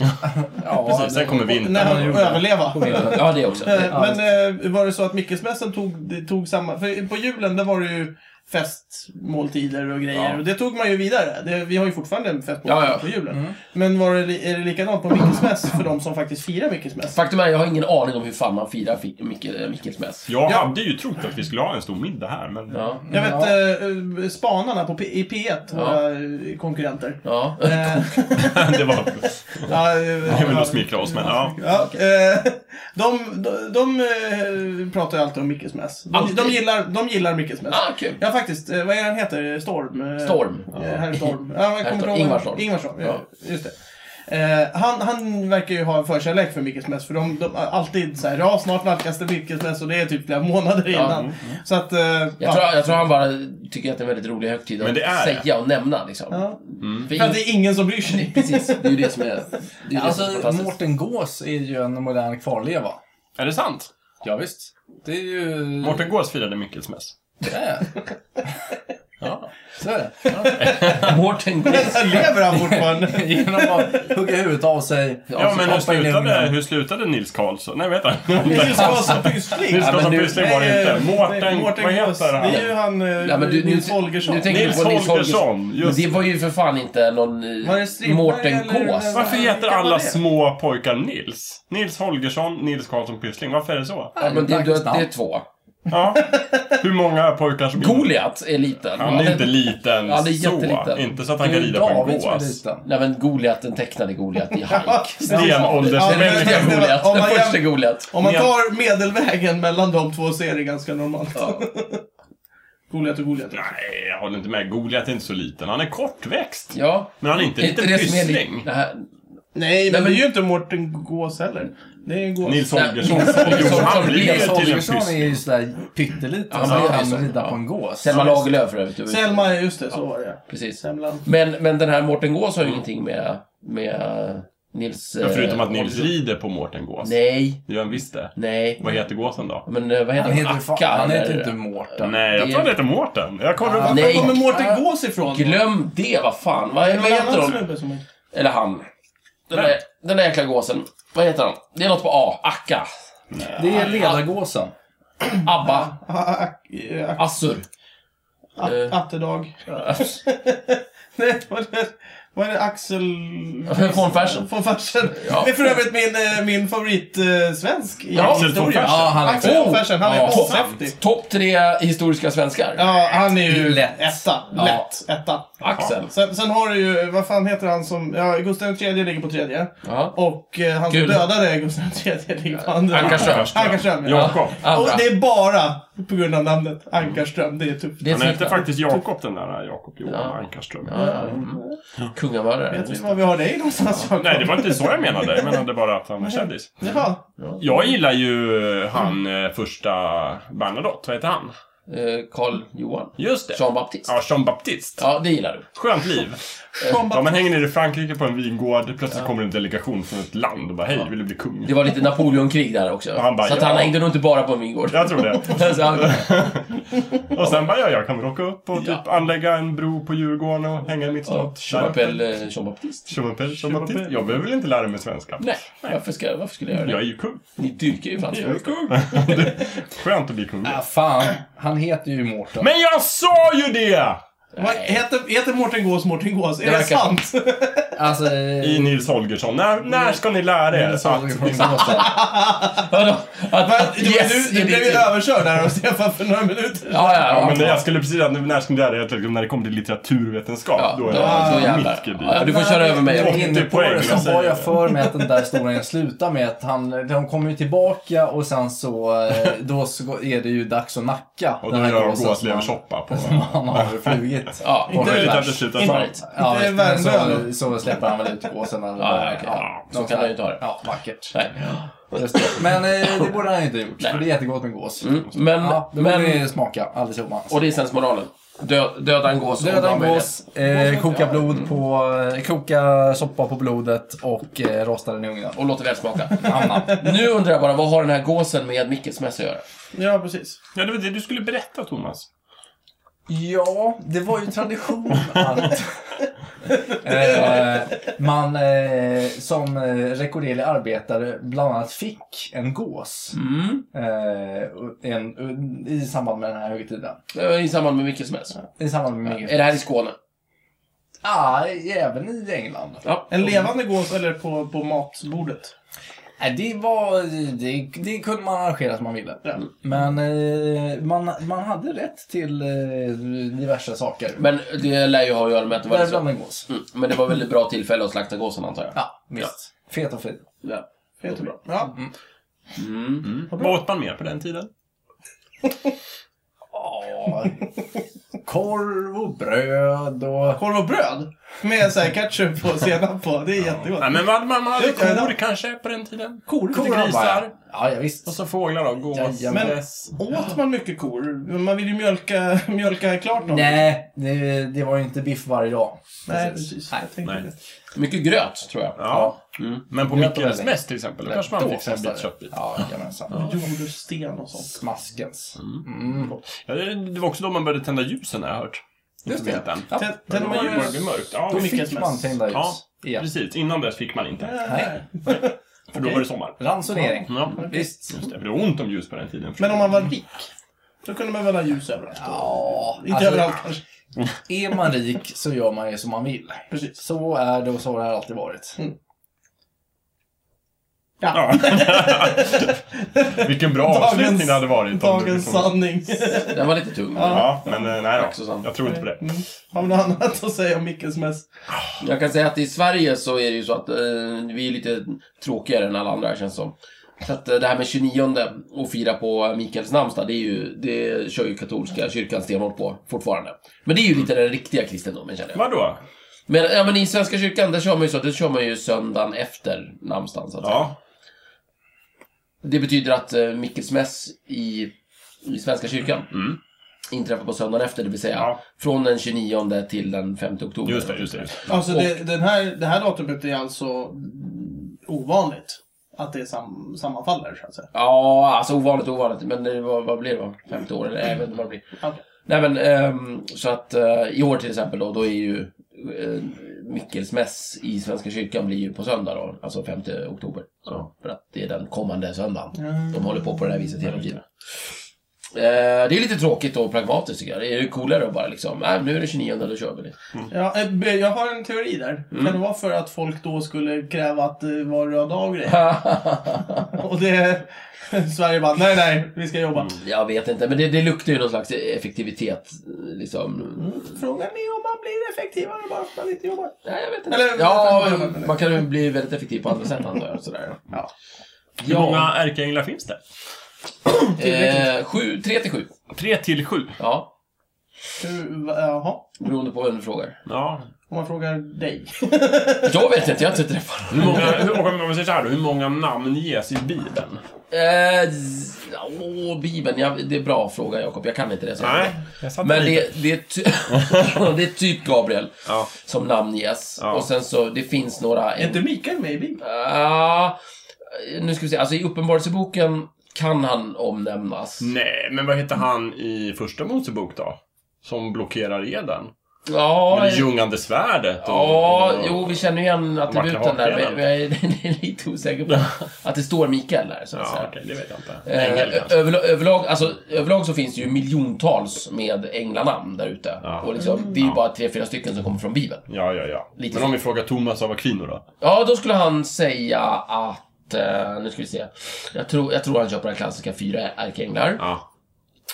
D: ja,
B: Precis, sen kommer
A: När
B: vintern.
A: han överleva.
C: Ja, det också.
A: Eh, Men eh, var det så att Mikkelsmässan tog, det tog samma... För på julen där var det ju festmåltider och grejer.
C: Ja.
A: Och det tog man ju vidare. Det, vi har ju fortfarande en festmåltid
C: Ja, ja. Mm.
A: på julen. Men var det, li- är det likadant på Mikkelsmäss för de som faktiskt firar Mikkelsmäss?
C: Faktum är, jag har ingen aning om hur fan man firar fi- Mikkel- eh, Mikkelsmäss.
B: Jag hade ju trott att vi skulle ha en stor middag här, men...
C: Ja.
A: Jag vet, eh, Spanarna på P- i P1, våra eh, konkurrenter.
C: Ja.
A: Eh,
B: det var...
A: ja, eh,
B: Jag vill nog smickra oss, men ja.
A: Ja, eh, de, de, de eh, pratar ju alltid om Mickes Mäss. De,
C: Alltid?
A: de gillar, de gillar Mickes Mäss.
C: Ah, kul.
A: Ja, faktiskt. Eh, vad är han heter? Storm? eh,
C: Storm.
A: Eh, Herr Storm. Ja, jag
C: Herr
A: kommer
C: Storm.
A: ihåg-
C: Ingvar Storm.
A: Ingvar Storm, ja.
C: Ja.
A: Just det. Eh, han, han verkar ju ha en förkärlek för Mickes Mäss. För de, de har alltid så här, ja snart nalkas det Mickes Mäss och det är typ flera månader innan. Så att, eh,
C: Mm, Jag, tror, jag tror han bara tycker att det är en väldigt rolig högtid
B: Men
C: att
B: det är det. Mm.
C: säga och nämna liksom.
A: Ja.
C: För
A: För att
C: ingen-
A: det är ingen som bryr sig.
C: Precis, det är ju det som är, det är, ju det som är
D: Alltså,
C: fantastiskt.
D: Mårten Gås är ju en modern kvarleva.
B: Är det sant?
D: Ja, visst. Det är ju...
B: Mårten Gås firade Mikkelsmäss.
D: Det är.
B: Ja.
D: Så är det.
C: Mårten Gås.
A: Lever han fortfarande?
D: Genom att hugga huvudet av sig.
B: Ja, men hur
D: hoppa in i
B: slutade,
D: ugnen.
B: hur slutade Nils Karlsson? Nej, vad heter
A: Nils
B: han?
A: Karlsson Pyssling.
B: Nils Karlsson Pyssling var det inte. Mårten... Vad
A: Gås.
B: heter
A: Det är ju
B: han?
A: han eh,
C: Ja, men du- nu-
A: Nils Holgersson.
C: nu tänker
B: Nils
C: på Nils
B: Holgersson.
C: Men
B: Just
C: det var ju för fan inte någon eh,
A: Var det Strindberg
C: Mårten
A: eller-
C: Gås.
B: Varför heter
A: Kan man
B: alla
A: det?
B: små pojkar Nils? Nils Holgersson, Nils Karlsson Pyssling. Varför är det så?
C: Ja, men det, det, det är två.
B: Ja. Hur många pojkar som...
C: Goliat är liten.
B: Han är inte liten
C: Ja, det är
B: så.
C: jätteliten.
B: Inte så att
D: Det
B: han
D: är
B: kan
D: ju
B: rida på en
D: David som är
B: gås.
D: liten.
C: Nej men Goliat, den tecknade Goliat i
A: Ja,
C: Hike. Den
B: Stenåldersmänniska.
C: riktiga Goliat.
A: Om
C: Den
A: man
C: första
A: jäm-
C: Goliat.
A: Om man tar medelvägen mellan de två så är det ganska normalt.
C: Ja.
A: Goliat och Goliat.
B: Nej, jag håller inte med. Goliat är inte så liten. Han är kortväxt.
C: Ja.
B: Men han är inte en liten
C: som är li-
B: pyssling.
C: det här-
A: Nej, men
C: men-
A: det är ju inte Mårten Gås heller. Det är en gås.
B: Nils
C: Nej,
B: Holgersson.
C: Nils Holgersson.
B: Jo, han blir ju
C: Nils
B: till en
D: Holgersson är
B: pyssling.
D: ju sådär pytteliten.
C: Ja,
D: så
C: men det är
D: han
C: så.
D: kan rida på
C: Ja.
D: en gås.
C: Selma Lagerlöf för övrigt. du-
A: Selma, just det. Så var det.
C: Precis.
A: Semlan.
C: Men, men den här Mårten Gås har ju ingenting med, med Nils...
B: Ja,
C: eh,
B: förutom att Nils
C: Holgersson.
B: rider på Mårten Gås.
C: Nej,
B: Det gör han visst det.
C: nej.
B: Vad heter gåsen då?
C: Men eh, vad heter
D: Han heter, ju fan,
C: Akka,
D: han heter
C: eller-
D: inte Mårten.
B: Nej, jag
C: det-
B: tror han heter Mårten. Jag kollar upp.
A: Var
C: Nej.
A: kommer Mårten
D: Ah.
A: Gås ifrån?
C: Glöm det, vad fan. Vad,
A: Är det
C: vad
A: någon
C: heter
A: annan
C: hon?
A: snubbe som...
C: Eller han. Den där, den där jäkla gåsen. Vad heter han? Det är något på A. Akka.
D: Det är ledargåsen.
C: ABBA,
A: Ah, ak- eh, ak-
C: Assur.
A: att-
C: eh.
A: Attedag. Nej, vad är det? Vad är det? Axel...
C: Von Fersen.
A: Von Fersen.
C: Ja.
A: Det är för övrigt min, eh, min favorit eh, svensk i
C: Ja,
B: Axel von
A: historia.
B: Fersen.
D: Ja, han är
A: Axel von Fersen, han är
C: Oh! Ja.
A: ashäftig.
C: Topp tre historiska svenskar.
A: Ja, han är ju
D: Lätt.
A: etta.
C: Ja.
A: Lätt. Etta.
C: Axel.
A: Sen, sen har du ju, vad fan heter han som, ja, Gustav III ligger på tredje.
C: Ja.
A: Och eh, han som
C: Kul.
A: dödade Gustav III ligger på andra.
C: Ankarström.
A: Ankarström, ja.
B: Jakob.
A: Och
C: Andra.
A: det är bara på grund av namnet Ankarström. Det är typ- tufft.
C: Det är
B: Han
C: ett
B: hette
C: smeknamn.
B: faktiskt Jakob den där Jakob Johan
C: Ja.
B: Ankarström.
C: Ja, ja, mm. Kungamördare.
A: Vet vi var vi har dig någonstans Jakob?
B: Nej, det var inte så jag menade. Jag menade bara att han var kändis.
A: Ja.
B: Jag gillar ju han eh, första Bernadotte. Vad heter han?
C: Eh, Karl Johan.
B: Just det.
C: Jean Baptiste.
B: Ja, Jean Baptiste.
C: Ja, det gillar du.
B: Skönt liv.
A: Jean
B: Ja, man hänger nere i Frankrike på en vingård. Plötsligt kommer en delegation från ett land och bara hej, vill du bli kung?
C: Det var lite Napoleonkrig där också.
B: han bara,
C: så att
B: ja.
C: han hängde nog inte bara på en vingård.
B: Jag tror det.
C: Så han-
B: Och sen bara, ja, jag kan väl åka upp och typ
C: Ja.
B: anlägga en bro på Djurgården och hänga i mitt slott.
C: Jean-Appel eh, Jean Baptiste.
B: Schumapel, Schumapel. Jag behöver väl inte lära mig svenska?
C: Nej, varför, ska, varför skulle jag göra
B: Jag är
C: det?
B: ju kung.
C: Ni dyrkar ju franska.
B: Jag är kung. Skönt att bli kung.
D: Ah, fan, han heter ju Mårten.
B: Men jag sa ju det!
A: Vad heter, heter Mårten Gås Mårten Gås? Är det,
C: Det verkar
A: sant?
D: Alltså,
B: I
D: eh,
B: Nils Holgersson. När, när ska ni lära er?
D: så-
B: att- liksom,
C: Vadå?
A: Men,
C: Att,
A: du,
C: yes,
A: du, du
C: är
A: blev
C: det
A: ju
C: till.
A: överkörd här av Stefan för några minuter.
C: Ja,
B: Ja,
C: ja,
B: men jag skulle precis säga, när ska ni lära er? att liksom När det kommer till litteraturvetenskap,
C: ja.
B: då är
C: då- då
B: det
C: jävlar.
B: mitt
C: Ja, ja,
B: gebit.
C: du får köra över
D: Jag var
C: mig.
D: inne
B: 80
D: på
B: poäng,
D: det,
B: jag
D: så
B: säger
D: var jag
B: det.
D: för mig att den där historien slutar med att han, de kommer ju tillbaka och sen så, eh, då så är det ju dags att nacka.
B: Och då
D: den här
B: gör de
D: gåsen som
B: gåsleversoppa på...
D: han- som han har flugit.
C: Ja,
D: Och
B: Lite
D: bärs.
B: efter slutet.
A: Inte-
B: så-
C: right.
D: Ja,
A: Inte
D: visst, men
A: Värmdö.
D: så, så släpper han väl ut gåsen eller
C: Ja, ja, okej. Så
D: något
C: kan
D: sånt.
C: han ju ta det.
D: Ja, vackert.
C: Nej.
D: Just det. Men eh, det borde han ju inte ha gjort,
C: Nej.
D: för det är jättegott med gås.
C: Mm, men,
D: Ja, det borde
C: men,
D: ni smaka alltillsammans.
C: och det är sensmoralen. Dö, döda en gås. Mm. om du
D: Döda
C: har
D: en
C: möjlighet.
D: gås, eh, koka blod på, eh, koka soppa på blodet och eh, rosta den i ugnen.
C: Och låter det smaka.
D: Nam, nam.
C: Nu undrar jag bara, vad har den här gåsen med Mickes mässa att göra?
A: Ja, precis.
B: Ja, det var det du skulle berätta, Thomas.
D: Ja, det var ju tradition att eh, man eh, som eh, rekorderlig arbetare bland annat fick en gås
C: Mm.
D: eh, en, eh, i samband med den här högtiden.
C: Det var I samband med Mickes mässa.
D: I samband med
C: Är det här i Skåne?
D: Ah, även i England.
C: Ja.
A: En levande gås eller på, på matbordet?
D: Nej, det var... Det, det kunde man arrangera som man ville.
A: Ja.
D: Men eh, man, man hade rätt till eh, diverse saker.
C: Men det lär ju ha att göra med att det var
D: Däribland
C: liksom...
D: en gås.
C: mm, Men det var väl ett bra tillfälle att slakta gåsen, antar jag?
D: Ja, visst. Fet och fin.
C: Ja.
A: Vet bra. Ja.
C: Mm.
B: Vad åt man mer på den tiden?
D: Ja. Korv och bröd och...
A: Korv och bröd? Med så här ketchup och senap på. Det är jättegott.
B: Nej, men vad, man man hade
A: Det kan jag
B: kor
A: då.
B: kanske på den tiden.
A: Kor, lite
B: Kor,
A: grisar.
B: grisar.
D: Ja, ja visst.
B: Och så fåglar då. Gås,
D: Jajamän.
B: gäss.
A: Åt man mycket kor? Man vill ju mjölka, mjölka klart någon.
D: Nej, det, det var ju inte biff varje dag.
A: Nej, precis.
D: Nej.
A: Jag tänkte
B: Nej.
A: det.
C: Mycket gröt, tror jag.
B: Ja.
C: Mm.
B: Men på
D: Jag tror
B: Mickels
D: det.
B: mäss till exempel, då kanske man fick sig en bit köttbit.
D: Ja, jajamensan.
A: Jordsten och sånt.
D: Smaskens. Mm.
B: Ja, det- Det var också då man började tända ljusen, har jag hört.
D: Just det.
B: Vintern.
D: Ja.
A: Tänd-
B: Men
A: Tänder
B: det
A: man
B: var ju det
A: ljus?
B: blev mörkt. Ja,
A: Då
B: visst.
A: fick
D: Man tända ljus.
B: Ja,
D: igen.
B: precis. Innan dess fick man inte.
A: Nej.
B: För då var det sommar.
D: Ransonering.
B: Ja,
D: Visst.
B: just det. För det var ont om ljus på den tiden.
A: Men om man var rik, då kunde man väl ha ljus överallt?
D: Ja,
A: Inte
D: alltså-
A: överallt kanske.
D: Är man rik så gör man ju som man vill.
A: Precis.
D: Så är det och så har det alltid varit.
B: Ja. Vilken bra
A: Dagens-
B: avslutning det hade varit. om det
A: Dagens
B: liksom-
A: sanning.
C: Den var lite tung. men
B: Ja, men eh, nej
C: Tack,
B: då.
C: Susanne.
B: Jag tror inte på det.
A: Mm. Har vi något annat att säga om Mickes mäss?
C: Jag kan säga att i Sverige så är det ju så att eh, vi är lite tråkigare än alla andra, känns det som. Så att eh, det här med 29 och fira på Mikaels namnsdag, det, är ju, det kör ju katolska kyrkan stenhårt på fortfarande. Men det är ju lite den riktiga kristendomen, känner jag.
B: Vadå?
C: Men, ja, men i Svenska kyrkan, där kör man ju så, det kör man ju söndagen efter namnsdagen, så att säga.
B: Ja.
C: Det betyder att eh, Mikkelsmäss i, i Svenska kyrkan inträffar på söndagen efter, det vill säga
B: Mm. Ja.
C: från den 29 till den 5 oktober.
B: Just det, just det. just det.
A: Alltså det, den här, det här datumet är alltså mm, ovanligt. Att det sam, sammanfaller så att säga.
C: Ja, alltså ovanligt ovanligt. Men det var, vad blir det då? 50 år? Eller jag vet inte vad det blir.
A: Okej.
C: Nej men, ehm, så att eh, i år till exempel då, då är ju uh, Mikkelsmäss i Svenska kyrkan blir ju på söndag då, alltså 5 oktober. Så, för att det är den kommande söndagen. De håller på på det här viset hela tiden. Eh, det är lite tråkigt och pragmatiskt tycker jag. Det är ju coolare att bara liksom, nej nu är det 29 då kör vi det.
A: Ja, eh, b- jag har en teori där. Kan det vara för att folk då skulle kräva att det var röd dag och grejer? Och det... Sverige bara, nej, nej, vi ska jobba.
C: jag vet inte, men det, det luktar ju någon slags effektivitet. Liksom.
A: Frågan är om man blir effektivare bara för att man inte jobbar.
C: Nej, jag vet inte.
A: Eller-
C: ja,
A: eller- eller-
C: man kan ju bli väldigt effektiv på andra sätt antar jag. Sådär.
A: Ja.
B: Hur
C: Ja.
B: många ärkeänglar finns det?
C: Eh, sju, tre till sju.
B: Tre till sju.
C: Ja,
A: Hur, va- jaha,
C: beroende på vem du frågar.
B: Ja.
A: om man frågar dig.
C: Jag vet inte, jag har inte träffat
B: Hur
C: någon.
B: många, hur, om man säger så här då, hur många namn ges i Bibeln?
C: Eh, z- åh, Bibeln. Jag, det är bra fråga, Jakob. Jag kan inte det. Så.
B: Nej, jag satte
C: Men
B: lite.
C: det, det, är ty- det är typ Gabriel
B: Ja.
C: som namnges.
B: Ja.
C: Och sen så, det finns några...
A: Är inte Mikael med i Bibeln?
C: Ah, nu ska vi se. Alltså i Uppenbarelseboken kan han omnämnas.
B: Nej, men vad heter han i Första Mosebok då? Som blockerar eden?
C: Ja,
B: Och det ljungande svärdet? Och,
C: ja
B: och,
C: jo, vi känner ju igen attributen där.
B: haken.
C: Men men jag är, det är lite osäker på att det står Mikael där. Så att
B: Ja,
C: säga.
B: okej, det vet jag inte.
C: Eh,
B: Ängel kanske?
C: överlag, överlag, alltså, överlag så finns det ju miljontals med änglanamn där ute.
B: Ja.
C: Och liksom, det är ju bara tre, fyra stycken som kommer från Bibeln.
B: Ja, ja, ja.
C: Lite
B: men om vi frågar Thomas av Aquino då?
C: Ja, då skulle han säga att... Eh, nu ska vi se. Jag tror, jag tror han kör på den klassiska fyra ärkeänglar.
B: Ja,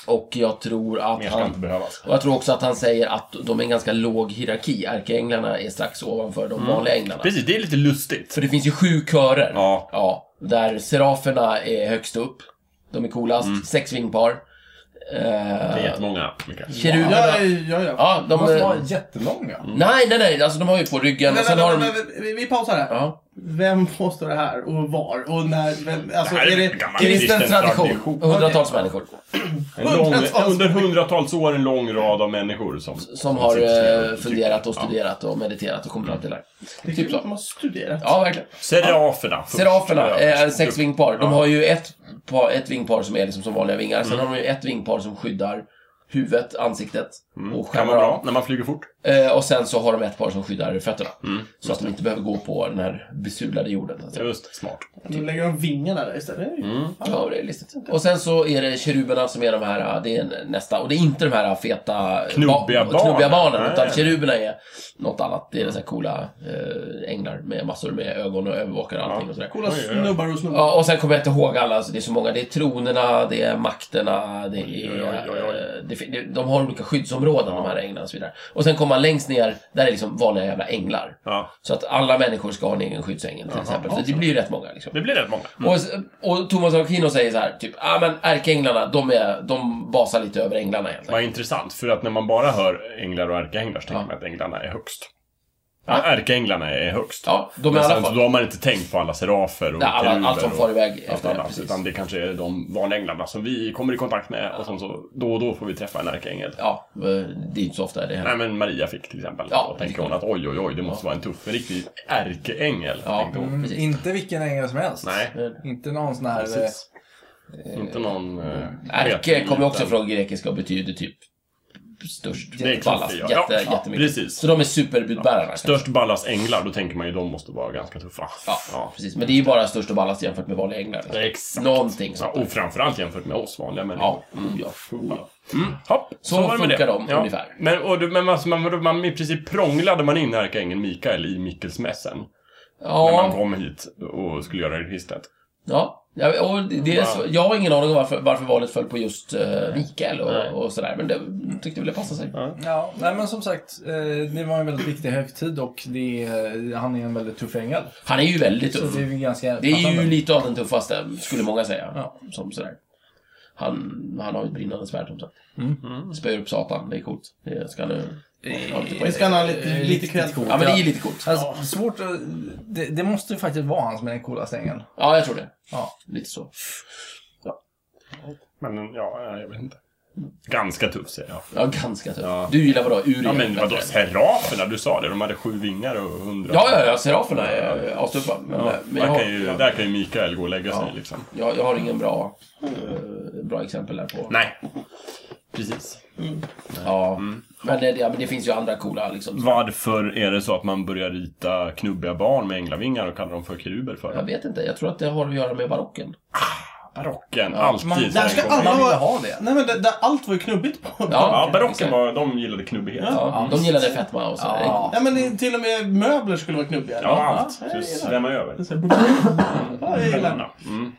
C: Och jag tror att
B: mer ska
C: han...
B: inte behövas.
C: Och jag tror också att han säger att de är en ganska låg hierarki. Ärkeänglarna är strax ovanför de vanliga änglarna.
B: Mm. Precis, det är lite lustigt.
C: För det finns ju sju körer.
B: Ja.
C: där seraferna är högst upp. De är coolast. Sex vingpar.
B: Mm. Det är
C: Eh,
B: jättemånga, Mikael.
C: keruberna.
A: Ja, ja, ja.
C: Ja, de... eh,
D: De Mm, måste vara jättelånga.
C: Nej, nej, nej. Alltså de har ju på ryggen
A: Men,
C: och sen
A: vänta,
C: har de...
A: vänta, vänta, vi- vi pausar här.
C: Ja.
A: Vem påstår det här och var? Och när? Vem, alltså,
B: Det här är
A: är
B: en gammal
A: det
B: kristen
A: kristen tradition?
B: tradition.
C: Hundratals människor
B: En lång,
A: Hundratals-
B: under hundratals år en lång rad av människor som...
C: som har
B: sitter
C: eh,
B: och Mm.
C: funderat och
B: tycker.
C: studerat och mediterat och kommit fram till det
A: Det
C: här.
A: är
C: Typ
A: kul att de
C: så.
A: har studerat.
C: Ja, verkligen.
B: Ja. Seraferna. först.
C: Seraferna Eh,
B: Ja,
C: är
B: precis.
C: sex
B: Du-
C: vingpar.
B: Ja. Mm.
C: De har ju ett, par, ett vingpar som är liksom som vanliga vingar. Sen har de ju ett vingpar som skyddar huvudet, ansiktet och
B: Mm. Kan vara
C: skärmar
B: bra
C: av.
B: när man flyger fort.
C: Eh, och sen så har de ett par som skyddar fötterna.
B: Mm,
C: så att de inte behöver gå på den här besudlade jorden. Så att säga.
B: Just, smart.
A: Då lägger de vingarna där istället.
C: Mm.
B: Mm.
C: Ja, det är listigt. Och sen så är det keruberna som är de här, det är nästa, och det är inte de här feta
B: Knubbiga
C: ba-
B: barnen.
C: knubbiga barnen
B: Nej.
C: utan keruberna är något annat. Det är så här coola eh, änglar med massor med ögon och övervakare och allting och sådär.
A: Coola
B: Oj, oj, oj.
A: snubbar och snubbar.
C: Ja, och sen kommer jag inte ihåg alla, alltså, det är så många. Det är tronerna, det är makterna, det är...
B: Oj, oj, oj, oj.
C: eh, Det, fin- det, de har olika skyddsområden, de här änglarna och så vidare. Och sen kommer man längst ner, där är liksom vanliga jävla änglar.
B: Ja.
C: Så att alla människor ska ha en egen skyddsängel till exempel. Så det blir ju rätt många liksom.
B: Det blir rätt många.
C: Och, och Thomas av Aquino säger så här, typ, ah, men ärkeänglarna, de, är, de basar lite över änglarna helt enkelt.
B: Vad intressant, för att när man bara hör änglar och ärkeänglar så tänker
C: Ja.
B: man att änglarna är högst. Ja, ärkeänglarna är högst.
C: Ja, de är i
B: Men
C: alla
B: sen, så
C: fall...
B: då har man inte tänkt på alla serafer och
C: Nej, alla-
B: keruber
C: allt som
B: och
C: far iväg
B: allt
C: efter det,
B: annat,
C: precis.
B: Utan det kanske är de vanliga änglarna som vi kommer i kontakt med och som så då och då får vi träffa en ärkeängel.
C: Ja, eh, det är inte så ofta det händer.
B: Nej men Maria fick till exempel.
C: Ja,
B: Ja, då tänker hon att oj oj oj, det måste vara en tuff, en riktig ärkeängel.
C: Ja.
B: tänkte hon.
D: Mm,
C: precis.
D: inte vilken ängel som helst.
B: Nej,
D: Inte någon sån här... eh,
B: precis. Inte någon... eh,
C: Ärke
B: sketen
C: kommer ju också
B: liten.
C: från grekiska och betyder typ störst.
B: Det är klart
C: ballast.
B: det gör.
C: Jätte,
B: Ja, ja,
C: jättemycket.
B: precis.
C: Så de är superbudbärarna.
B: Störst ballas änglar, då tänker man ju de måste vara ganska tuffa.
C: Ja, precis. Men det är ju bara störst och ballast jämfört med vanliga änglar. Liksom.
B: Exakt.
C: Någonting
B: Ja,
C: sånt. där.
B: och framförallt jämfört med oss vanliga människor. Mm.
C: Ja, oh ja, oh ja.
B: Hopp,
C: Så
B: var det med
C: funkar
B: det.
C: de ungefär.
B: Men, och, du- men alltså, man, man, man, i princip prånglade man in ärkeängeln Mikael i Mikkelsmässen. När man
C: Ja,
B: kom hit och skulle göra registret.
C: ja. Ja, och det- det är så, jag har ingen aning om varför, varför valet föll på just eh, Mikael och, och sådär, men det tyckte väl det passade sig.
D: eh, Ja, nej men som sagt, eh, det var en väldigt viktig högtid och det, är- han är en väldigt tuff ängel.
C: Han är ju väldigt
D: Så
C: tuff.
D: det är ju ganska
C: Det är ju
D: passande.
C: lite av den tuffaste, skulle många säga.
D: Ja.
C: Som sådär. Han, han har ju ett brinnande svärd som sagt.
D: Mm.
B: Mm.
C: Spöar upp Satan, det är coolt. Det ska nu... ha lite
A: Vi
C: poäng.
A: ska ha
C: Eh,
A: lite, lite
D: Riktigt
A: kväll.
D: coolt.
C: Ja, men det är ju lite coolt.
D: Alltså, svårt att, det, det måste ju faktiskt vara han som är den coolaste ängeln.
C: Ja, jag tror det.
D: Ja.
C: Lite så.
B: Men ja, jag vet inte. Ganska tuff säger jag.
C: Ja, ganska tufft.
B: Ja.
C: Du gillar vadå? Ur
B: Ja,
C: i
B: men
C: helvete.
B: vadå, seraferna? Du sa det, de hade sju vingar och hundra.
C: Ja, ja, ja. Seraferna är eh, astuffa. Men,
B: Ja,
C: men jag,
B: där,
C: har,
B: kan ju, där kan ju Mikael gå och lägga sig liksom.
C: jag, jag har ingen bra, eh, bra exempel där på.
B: Nej. Precis.
C: Ja. Men, det, ja, men det finns ju andra coola liksom.
B: Varför är det så att man börjar rita knubbiga barn med änglavingar och kallar dem för keruber för?
C: Jag vet inte. Jag tror att det har att göra med barocken.
B: barocken. Alltid.
D: man-
B: så här
A: Där ska
B: kommer-
A: alla
D: Man ville
A: vara...
D: ha det.
A: Nej men det, där allt var ju knubbigt på
C: Ja.
B: Ja, barocken var, de gillade knubbighet. Ja,
C: Ja, de gillade fetma och så.
D: Ja.
A: Nej men det, till och med möbler skulle vara knubbiga.
B: allt.
A: Ja,
B: Det
A: jag gillar det.
B: svämmar över.
A: Så här- Ja, jag gillar det.
B: Bananer. Mm.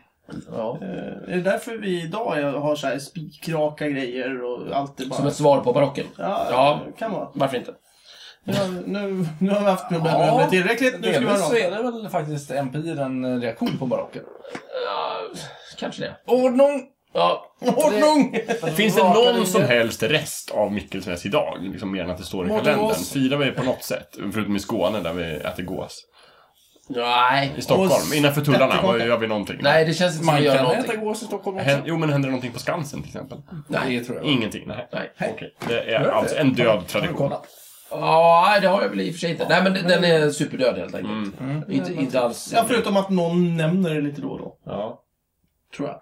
C: Ja.
A: Eh, Är det därför vi idag har så här spikraka grejer och allt är bara...
C: Som ett svar på barocken.
A: Ja,
C: Ja.
A: kan vara.
C: Varför inte?
A: Nu, har- nu, nu har vi haft problem
D: Ja,
A: med det tillräckligt. Nu ska vi
D: Delvis så
A: ha
D: är det väl faktiskt empir en eh, reaktion på barocken.
C: Ja, kanske det.
D: Ordnung!
C: Ja,
A: Ordnung!
B: Finns det
D: Raka linjer.
B: någon som helst rest av Mikkelsnäs idag? Liksom mer än att det står i
D: Mårten
B: kalendern.
D: Gås.
B: Firar vi på något sätt? Förutom i Skåne där vi äter gås.
C: nej.
B: I Stockholm,
A: Och
B: innanför tullarna,
A: ätterkaka.
B: vad gör vi någonting?
C: Nej, det känns inte som att
D: Man
C: göra
D: kan äta
C: någonting.
D: gås i Stockholm
B: Hän-
D: också.
B: Jo, men händer det någonting på Skansen till exempel?
A: Mm.
D: Nej, det tror jag.
B: Ingenting? Nej.
C: Nej.
B: Okej. Det är
D: det?
B: alltså en död
D: Har du
B: tradition.
D: kollat?
C: Ja, nej, det har jag väl i och för sig inte. Nej, men den är superdöd helt enkelt. Mm. Inte, inte alls.
A: Ja, förutom att någon nämner det lite då och då.
B: Ja.
A: Tror jag.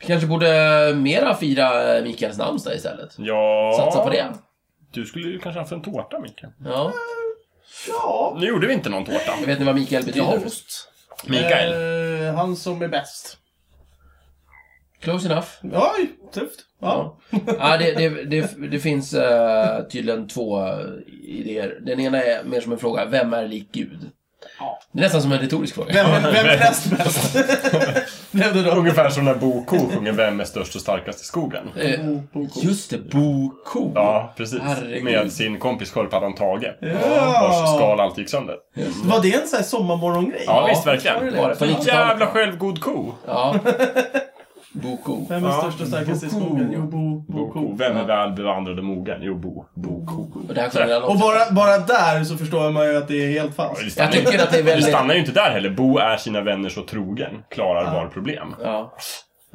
C: Vi kanske borde eh, mera fira eh, Mikaels namnsdag istället.
B: ja.
C: Satsa på det.
B: Du skulle ju kanske haft en tårta, Mikael.
C: Ja.
A: Ja.
B: Nu gjorde vi inte någon tårta.
C: Vet ni vad Mikael betyder?
A: Ost.
B: Mikael.
A: Eh, han som är bäst.
C: Close enough.
A: Oj, tufft. Ja.
C: Ja, det, det, det, det finns eh, tydligen två eh, idéer. Den ena är mer som en fråga, vem är lik Gud?
A: Ja.
C: Det är nästan som en retorisk fråga.
A: Vem, vem är näst bäst? Blev det då?
B: Ungefär som när Bo Ko sjunger Vem är störst och starkast i skogen?
C: Eh, just det, Bo Ko.
B: Ja, precis.
C: Herregud.
B: Med sin kompis sköldpaddan Tage. Vars
A: Ja.
B: skal alltid gick sönder.
A: Var det en sån här sommarmorgongrej?
C: Ja,
B: Ja, visst,
A: var det
B: verkligen.
A: det?
C: Var det på
B: En
C: 90-talet?
B: jävla självgod ko.
C: Ja. Bo Ko.
A: Vem är
B: Ja.
A: störst och starkast i skogen? Jo, Bo, bo,
B: Bo ko.
A: ko.
B: Vem är väl bevandrad och mogen? Jo, Bo. Bo ko.
C: Och det här sjunger han
A: Och
C: också.
A: bara, bara där så förstår man ju att det är helt
B: Det
A: falskt.
C: Jag
B: stannar ju-
C: tycker att det är
B: det
C: väldigt...
B: stannar ju inte där heller. Bo är sina vänner så trogen. Klarar var problem.
C: Ja,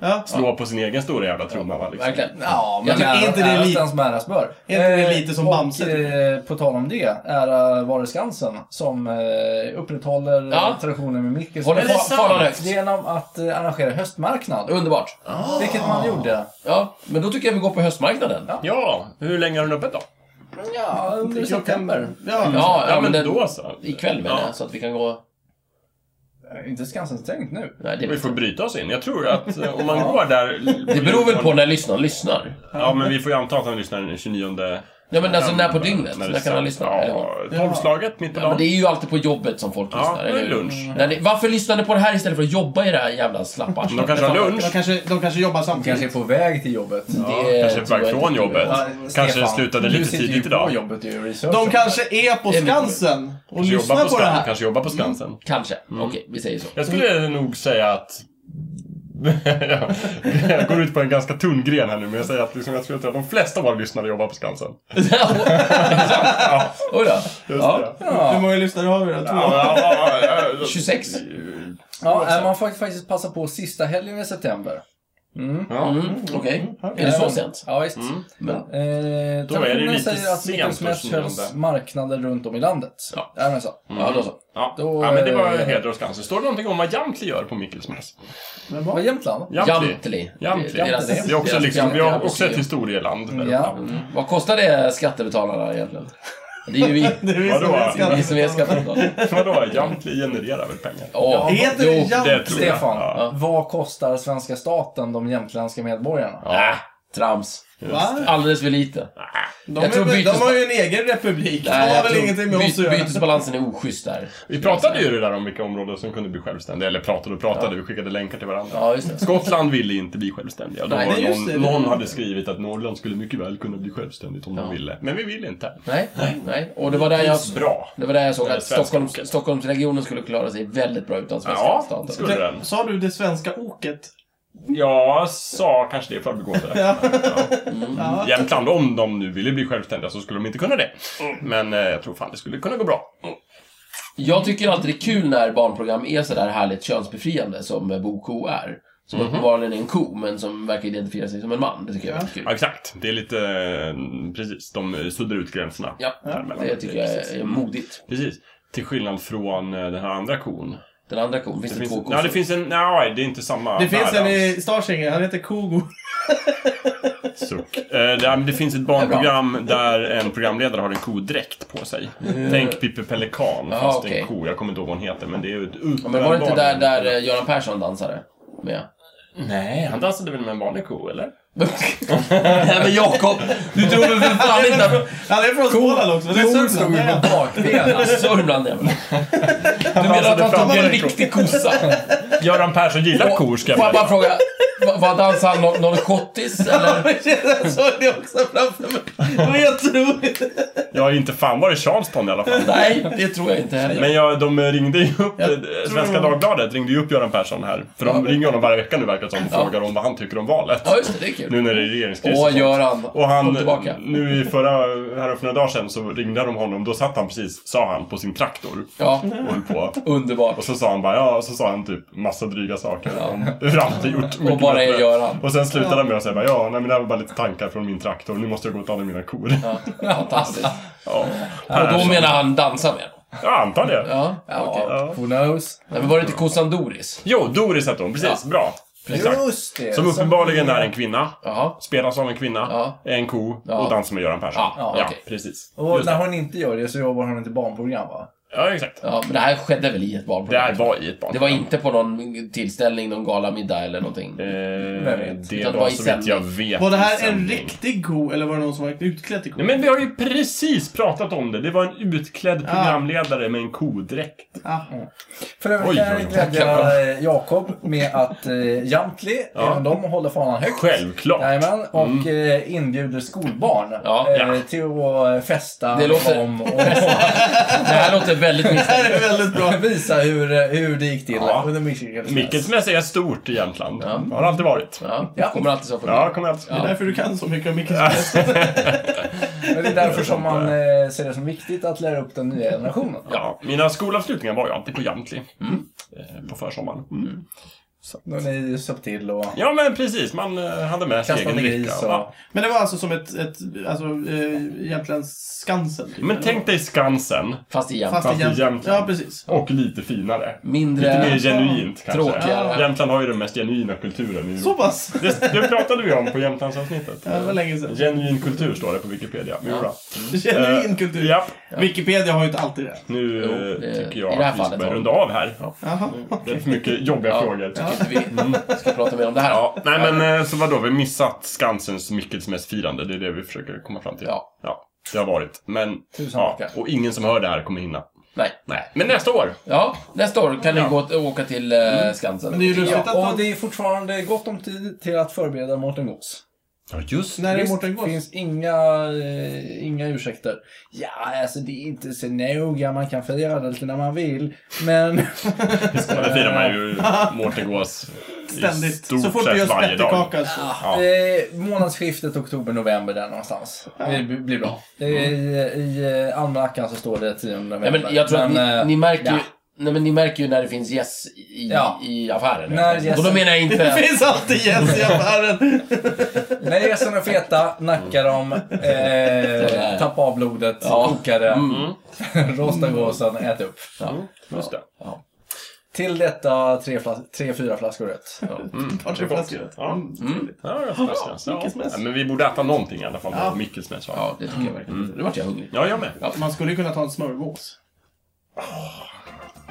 A: Ja.
B: Slå på sin egen stora jävla trumma, va? Liksom.
C: verkligen.
D: Ja,
C: Jag
D: men
C: tycker
D: ära,
A: inte det är
D: äras
A: lite-
D: den som äras bör.
A: är inte det lite som
D: och,
A: Bamse, typ?
D: Eh, på tal om det, ära vare Skansen som eh, upprätthåller
C: Ja.
D: eh, traditionen med Micke.
C: Håller fa- fanan högt.
D: Genom att eh, arrangera höstmarknad.
C: Underbart.
D: Vilket man gjorde.
C: Ja, men då tycker jag vi går på höstmarknaden. Ja,
B: Ja, hur länge har den öppet då?
D: Ja, under
A: Klockan-
D: september.
A: Ja.
C: ja,
B: Ja, men
C: men den,
B: då så.
C: ikväll menar
B: Ja.
C: jag, så att vi kan gå...
D: Eh, Inte Skansen stängt nu.
C: Nej, det,
B: Vi får bryta oss in. Jag tror att eh, om man går där...
C: det beror väl på när lyssnaren lyssnar.
B: Ja, men vi får ju anta att han lyssnar den 29...
C: Ja, men alltså när på
B: november,
C: dygnet? När
B: det
C: kan han
B: sänds.
C: lyssna? Eller hon?
B: Ja, tolvslaget mitt på
C: Ja, men det
B: dagen.
C: är ju alltid på jobbet som folk
B: Ja,
C: lyssnar,
B: det är
C: eller hur?
B: lunch.
C: När ni- varför lyssnar ni på det här istället för att jobba i det här jävla slappa
B: De kanske har lunch.
A: De kanske, de kanske jobbar
D: De kanske
A: samtidigt.
D: är på väg till jobbet.
C: Det
B: kanske är på
C: tror
B: väg
C: jag
B: från
C: inte.
B: jobbet.
D: Ja,
B: Kanske slutade
D: du
B: lite
D: sitter ju
B: tidigt
D: på
B: idag.
D: jobbet i research.
A: De kanske är på
C: Det är mitt
A: Skansen och
B: Kanske jobbar
A: lyssnar på
B: på
A: det
B: Skansen.
A: här. Mm.
B: Kanske jobbar på Skansen.
C: Kanske. Okej, vi säger så.
B: Jag skulle nog säga att... jag går ut på en ganska tunn gren här nu, men jag säger att liksom, jag tror att de flesta av våra lyssnare jobbar på Skansen.
C: Oj då.
B: Just
C: Ja.
B: det.
A: Hur många lyssnare har vi då? Två?
B: Ja, ja, ja, ja.
C: 26.
D: Ja, eh, man får faktiskt passa på sista helgen i september. Äh,
B: Ja.
C: Mm, Okej. Är det så
D: Mm.
C: sent?
D: Ja, visst.
C: Men,
D: Eh,
B: Mm. Då är det ju
D: traditionen
B: lite
D: säger att
B: sent
D: Mikkels Mäss
B: just nu,
D: hölls
B: men-
D: marknader runt om i landet.
C: Ja.
D: Ja, men så.
C: ja, då så.
B: Ja.
D: Då,
B: ja, men det var
D: eh,
B: heder och Skansen. Står det någonting om vad Jamtli gör på Mikkelsmäss?
A: Vem
D: Var
A: var?
D: Jämtland?
C: Jamtli.
B: Jamtli.
C: Deras-
B: Det är också
C: deras
B: liksom, vi har
C: Jamtli
B: också ett
C: museum.
B: historieland. där uppe.
D: Ja.
C: Mm. Vad kostar det skattebetalarna egentligen? Det är ju vi.
A: Det är vi
B: Vadå?
A: som är
C: Det är vi som är
A: skattebetalare.
C: skattebetalare.
B: Vadå? Jamtli genererar väl pengar?
C: Ja,
A: Heter det
C: jo.
A: Jam?
B: tror jag.
D: Stefan,
B: Ja.
D: vad kostar svenska staten de jämtländska medborgarna?
C: Nej, trams.
A: Va?
C: Alldeles för lite.
A: De,
C: Jag
A: är,
C: tror
A: väl- de
C: bytes-
A: har ju en egen republik.
C: Nej,
A: de
C: jag
A: har väl
C: tror
A: ingenting med oss att
C: byt-
A: göra.
C: Bytesbalansen är oschysst där.
B: Vi pratade ju det där om vilka områden som kunde bli självständiga, eller pratade och pratade, vi skickade länkar till varandra.
C: Ja, just det.
B: Skottland ville inte bli självständiga. Då
C: Nej,
B: var
A: det är just
B: det
A: det.
B: någon, någon hade skrivit att Norrland skulle mycket väl kunna bli självständigt om
C: Ja.
B: de ville. Men vi ville inte.
C: Nej, nej. Och det var där jag...
B: Bra.
C: Det var där jag såg
B: Det är
C: att
B: svenska
C: Stockholms,
B: oket.
C: Stockholmsregionen skulle klara sig väldigt bra utan svenska
B: Ja,
C: staten.
B: skulle den.
A: Sa du det svenska oket?
B: Jag sa kanske det i förbigående.
A: Ja.
B: Ja. Jämtland, om de nu ville bli självständiga så skulle de inte kunna det. Men eh, jag tror fan det skulle kunna gå bra.
C: Jag tycker alltid det är kul när barnprogram är sådär härligt könsbefriande som eh, Bo Ko är. Som uppenbarligen är en ko, men som verkar identifiera sig som en man. Det tycker jag är väldigt
B: Ja,
C: kul.
B: exakt. Det är lite... eh, Precis. De eh, suddar ut gränserna.
C: Ja,
B: Däremellan.
C: det tycker jag är är modigt.
B: Precis. Till skillnad från eh, den här andra kon.
C: Den andra kon, finns det,
B: Det finns,
C: två kor?
B: nej, det finns en... Nej, det är inte samma.
A: Det finns en
B: värld alls.
A: i Starsinger, han heter Kogo.
B: Suck. Eh, det, men det finns ett barnprogram där en programledare har en kodräkt på sig. Tänk Pippi Pelikan,
C: Ja,
B: fast
C: okej.
B: en ko. Jag kommer inte ihåg vad hon heter, men det är ju ett
C: ja, men var det inte där,
B: uppenbarligen-
C: där eh, Göran Persson dansade? Med?
B: Nej, han dansade väl med en vanlig ko, eller?
C: Nej men Jakob, du tror väl för fan inte att...
A: Han är från Småland också. men Det är
D: Kon stod
A: Sörmland.
D: ju på
A: Nej,
D: bakbenen.
C: Sörmland jävlar. Du menar att
B: dansade
C: han
B: fram
C: tog en
B: en ko.
C: riktig kossa?
B: Göran Persson gillar kor, ska jag
C: Får jag bara
B: berätta.
C: fråga, vad- vad dansade han? Nå- Någon schottis eller?
A: men shit, Jag såg det också framför mig. Det var helt otroligt.
B: Ja, inte fan var det Charleston i alla fall.
C: Nej, det tror jag inte heller.
B: Men jag, de ringde ju upp,
A: Jag
B: eh,
A: tror
B: Svenska
A: det var-
B: Dagbladet ringde ju upp Göran Persson här. För de ringer honom varje vecka nu verkar det som och frågar om vad han tycker om valet.
C: Ja just det, det är kul.
B: Nu när det är regeringskris.
C: Åh
B: sånt.
C: Göran,
B: Och
C: kom
B: han,
C: tillbaka.
B: nu i förra, här för några dagar sedan så ringde de honom, då satt han precis, sa han, på sin traktor
C: Ja,
B: och höll på. Och
C: underbart.
B: så sa han bara, ja, och så sa han typ massa dryga saker om hur han hade gjort. mycket
C: bara är
B: bättre.
C: Göran.
B: Och sen slutade han med att säga bara, ja, nej men det här var bara lite tankar från min traktor, nu måste jag gå och ta hand om mina kor. Ja,
C: Fantastiskt. Och då
B: Persson.
C: menar han dansa med dem.
B: Jag antar det.
C: Ja, okej.
D: Ja, who knows?
C: Nej, men var det inte kossan Doris?
B: Jo, Doris hette hon, precis, bra. Exakt.
D: Just det.
B: Som uppenbarligen är en kvinna,
C: Jaha.
B: spelas av en kvinna,
C: Eh, Ja.
B: är en ko
C: Ja.
B: och dansar med Göran Persson.
C: Ja, ja, okej.
B: precis.
D: Och
B: Just det.
D: när hon inte gör det så jobbar hon inte barnprogram va?
B: Ja, exakt.
C: Ja, men det här skedde väl i ett
B: Det
C: barnprogram?
B: här var i ett barn.
C: Det var inte på någon tillställning, någon galamiddag eller någonting?
B: Eh,
D: Vem vet?
B: det
C: Utan
B: var,
C: det var i
B: så vitt
C: sändning.
B: jag vet
A: Var det
B: i
A: här en
B: sändning.
A: riktig ko eller var det någon som var utklädd till ko?
B: Nej, men vi har ju precis pratat om det. Det var en utklädd
A: Ah.
B: programledare med en kodräkt.
A: Ah.
D: För övrigt
B: Oj,
D: kan
B: oj,
D: jag
B: oj.
D: glädja eh, Jakob med att eh, Jamtli,
B: Ja.
D: även de håller fanan högt.
B: Självklart.
D: Jajamän, och eh, inbjuder skolbarn
C: Ja,
D: eh,
B: ja.
D: till att festa
C: Det låter-
D: om och
C: Det här låter väldigt
A: Det
C: misstänkt.
A: här är väldigt bra.
D: visa hur, eh, hur det gick till
B: Ja.
D: under Michigan.
B: Mickelsmässa är stort i Jämtland. Har alltid varit.
C: Ja, det kommer alltid så för
B: Ja, kommer alltid.
A: Det är därför du kan så mycket om Micke Smith.
D: Men det är därför som man eh, ser det som viktigt att lära upp den nya generationen.
B: Ja, mina skolavslutningar var ju alltid på Jamtli.
C: Mm.
B: Eh, På försommaren. Mm.
D: När ni söp till och...
B: Ja, men precis. Man eh, hade med sig
D: Kastade
B: egen dricka.
D: gris och...
B: Ja.
A: Men det var alltså som ett, ett alltså, eh, Jämtlands Skansen. Typ,
B: Men tänk dig Skansen.
C: Fast i Jämtland.
A: Fast i
B: fast i
A: Jämtland.
B: Jämtland.
A: Ja, precis.
B: Och lite finare. Lite mer
C: Mindre...
B: genuint kanske.
C: Tråkigare.
B: Jämtland har ju den mest genuina kulturen i
A: Så
B: Europa.
A: pass.
B: Det, det pratade vi om på Jämtlandsavsnittet.
A: Ja, det var länge sedan.
B: Genuin kultur står det på Wikipedia. Men jodå.
A: Genuin
B: Eh,
A: kultur.
B: Ja,
A: Wikipedia har ju inte alltid det.
B: nu
C: Jo,
B: eh,
C: det-
B: tycker
C: i det här
B: jag att vi ska
C: fallet
B: börja
C: var-
B: runda av här.
A: Jaha.
B: Det är för mycket jobbiga frågor.
C: Jag tycker inte vi ska prata mer om det här.
B: Ja, nej men eh, så vadå, vi har missat Skansens Mickelsmässfirande. Det är det vi försöker komma fram till.
C: Ja.
B: det har varit. Men,
D: Tusen
B: ja,
D: tackar.
B: och ingen som hör det här kommer hinna.
C: Nej.
B: Nej, men nästa år!
C: Ja, nästa år kan ni gå och åka till eh, Skansen.
A: Men det är ju lustigt att
D: Ja, och
A: man...
D: det är fortfarande gott om tid till att förbereda Mårten Gås.
B: Ja, just
A: När är
D: Visst,
A: Mårten Gås?
D: finns inga, eh, inga ursäkter. Ja, alltså det är inte så noga. Man kan fira det lite när man vill. Men
B: Ja, det firar man ju Mårten Gås i
A: Ständigt.
B: stort
A: Så fort du
B: sett
A: gör
B: varje dag.
A: spettekaka så...
B: Ja.
D: eh, månadsskiftet oktober-november där någonstans. Det b- blir bra. Eh, I i eh, almanackan så står det 10 november.
C: Nej, men jag tror att ni,
D: eh,
C: ni märker ju...
D: ja.
C: Nej, men ni märker ju när det finns gäss i,
D: Ja.
C: i affären.
D: När
C: Och då
D: gässen-
C: menar jag
A: Det
C: inte...
A: finns alltid gäss i affären.
D: När gässen är feta, nacka dem, eh, tappa av blodet,
C: Ja.
D: koka det,
C: Mm.
D: rosta gåsen, ät upp.
C: Ja.
B: Just det.
D: Till detta tre, flas- tre fyra flaskor rött.
B: Mm.
A: Tar tre flaskor.
B: Ja.
A: Mm.
B: Ja, jag hoppas det. Så, ja.
A: Mickelsmäss.
B: Ja, men vi borde äta någonting i alla fall. Ja. Mickelsmäss. Ja.
C: ja, det tycker jag verkligen. Nu vart jag hungrig.
B: ja, jag med.
A: Man skulle ju kunna ta en smörgås.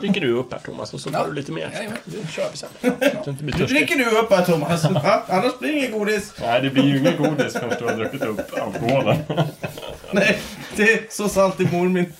B: Dricker du upp här Thomas och så tar du lite mer. Det kör vi sen.
A: Nu dricker du upp här Thomas. Ja, annars blir det ingen godis.
B: Nej, det blir ju ingen godis förrän du har druckit upp alkoholen.
A: Nej, det är så sant i mor min.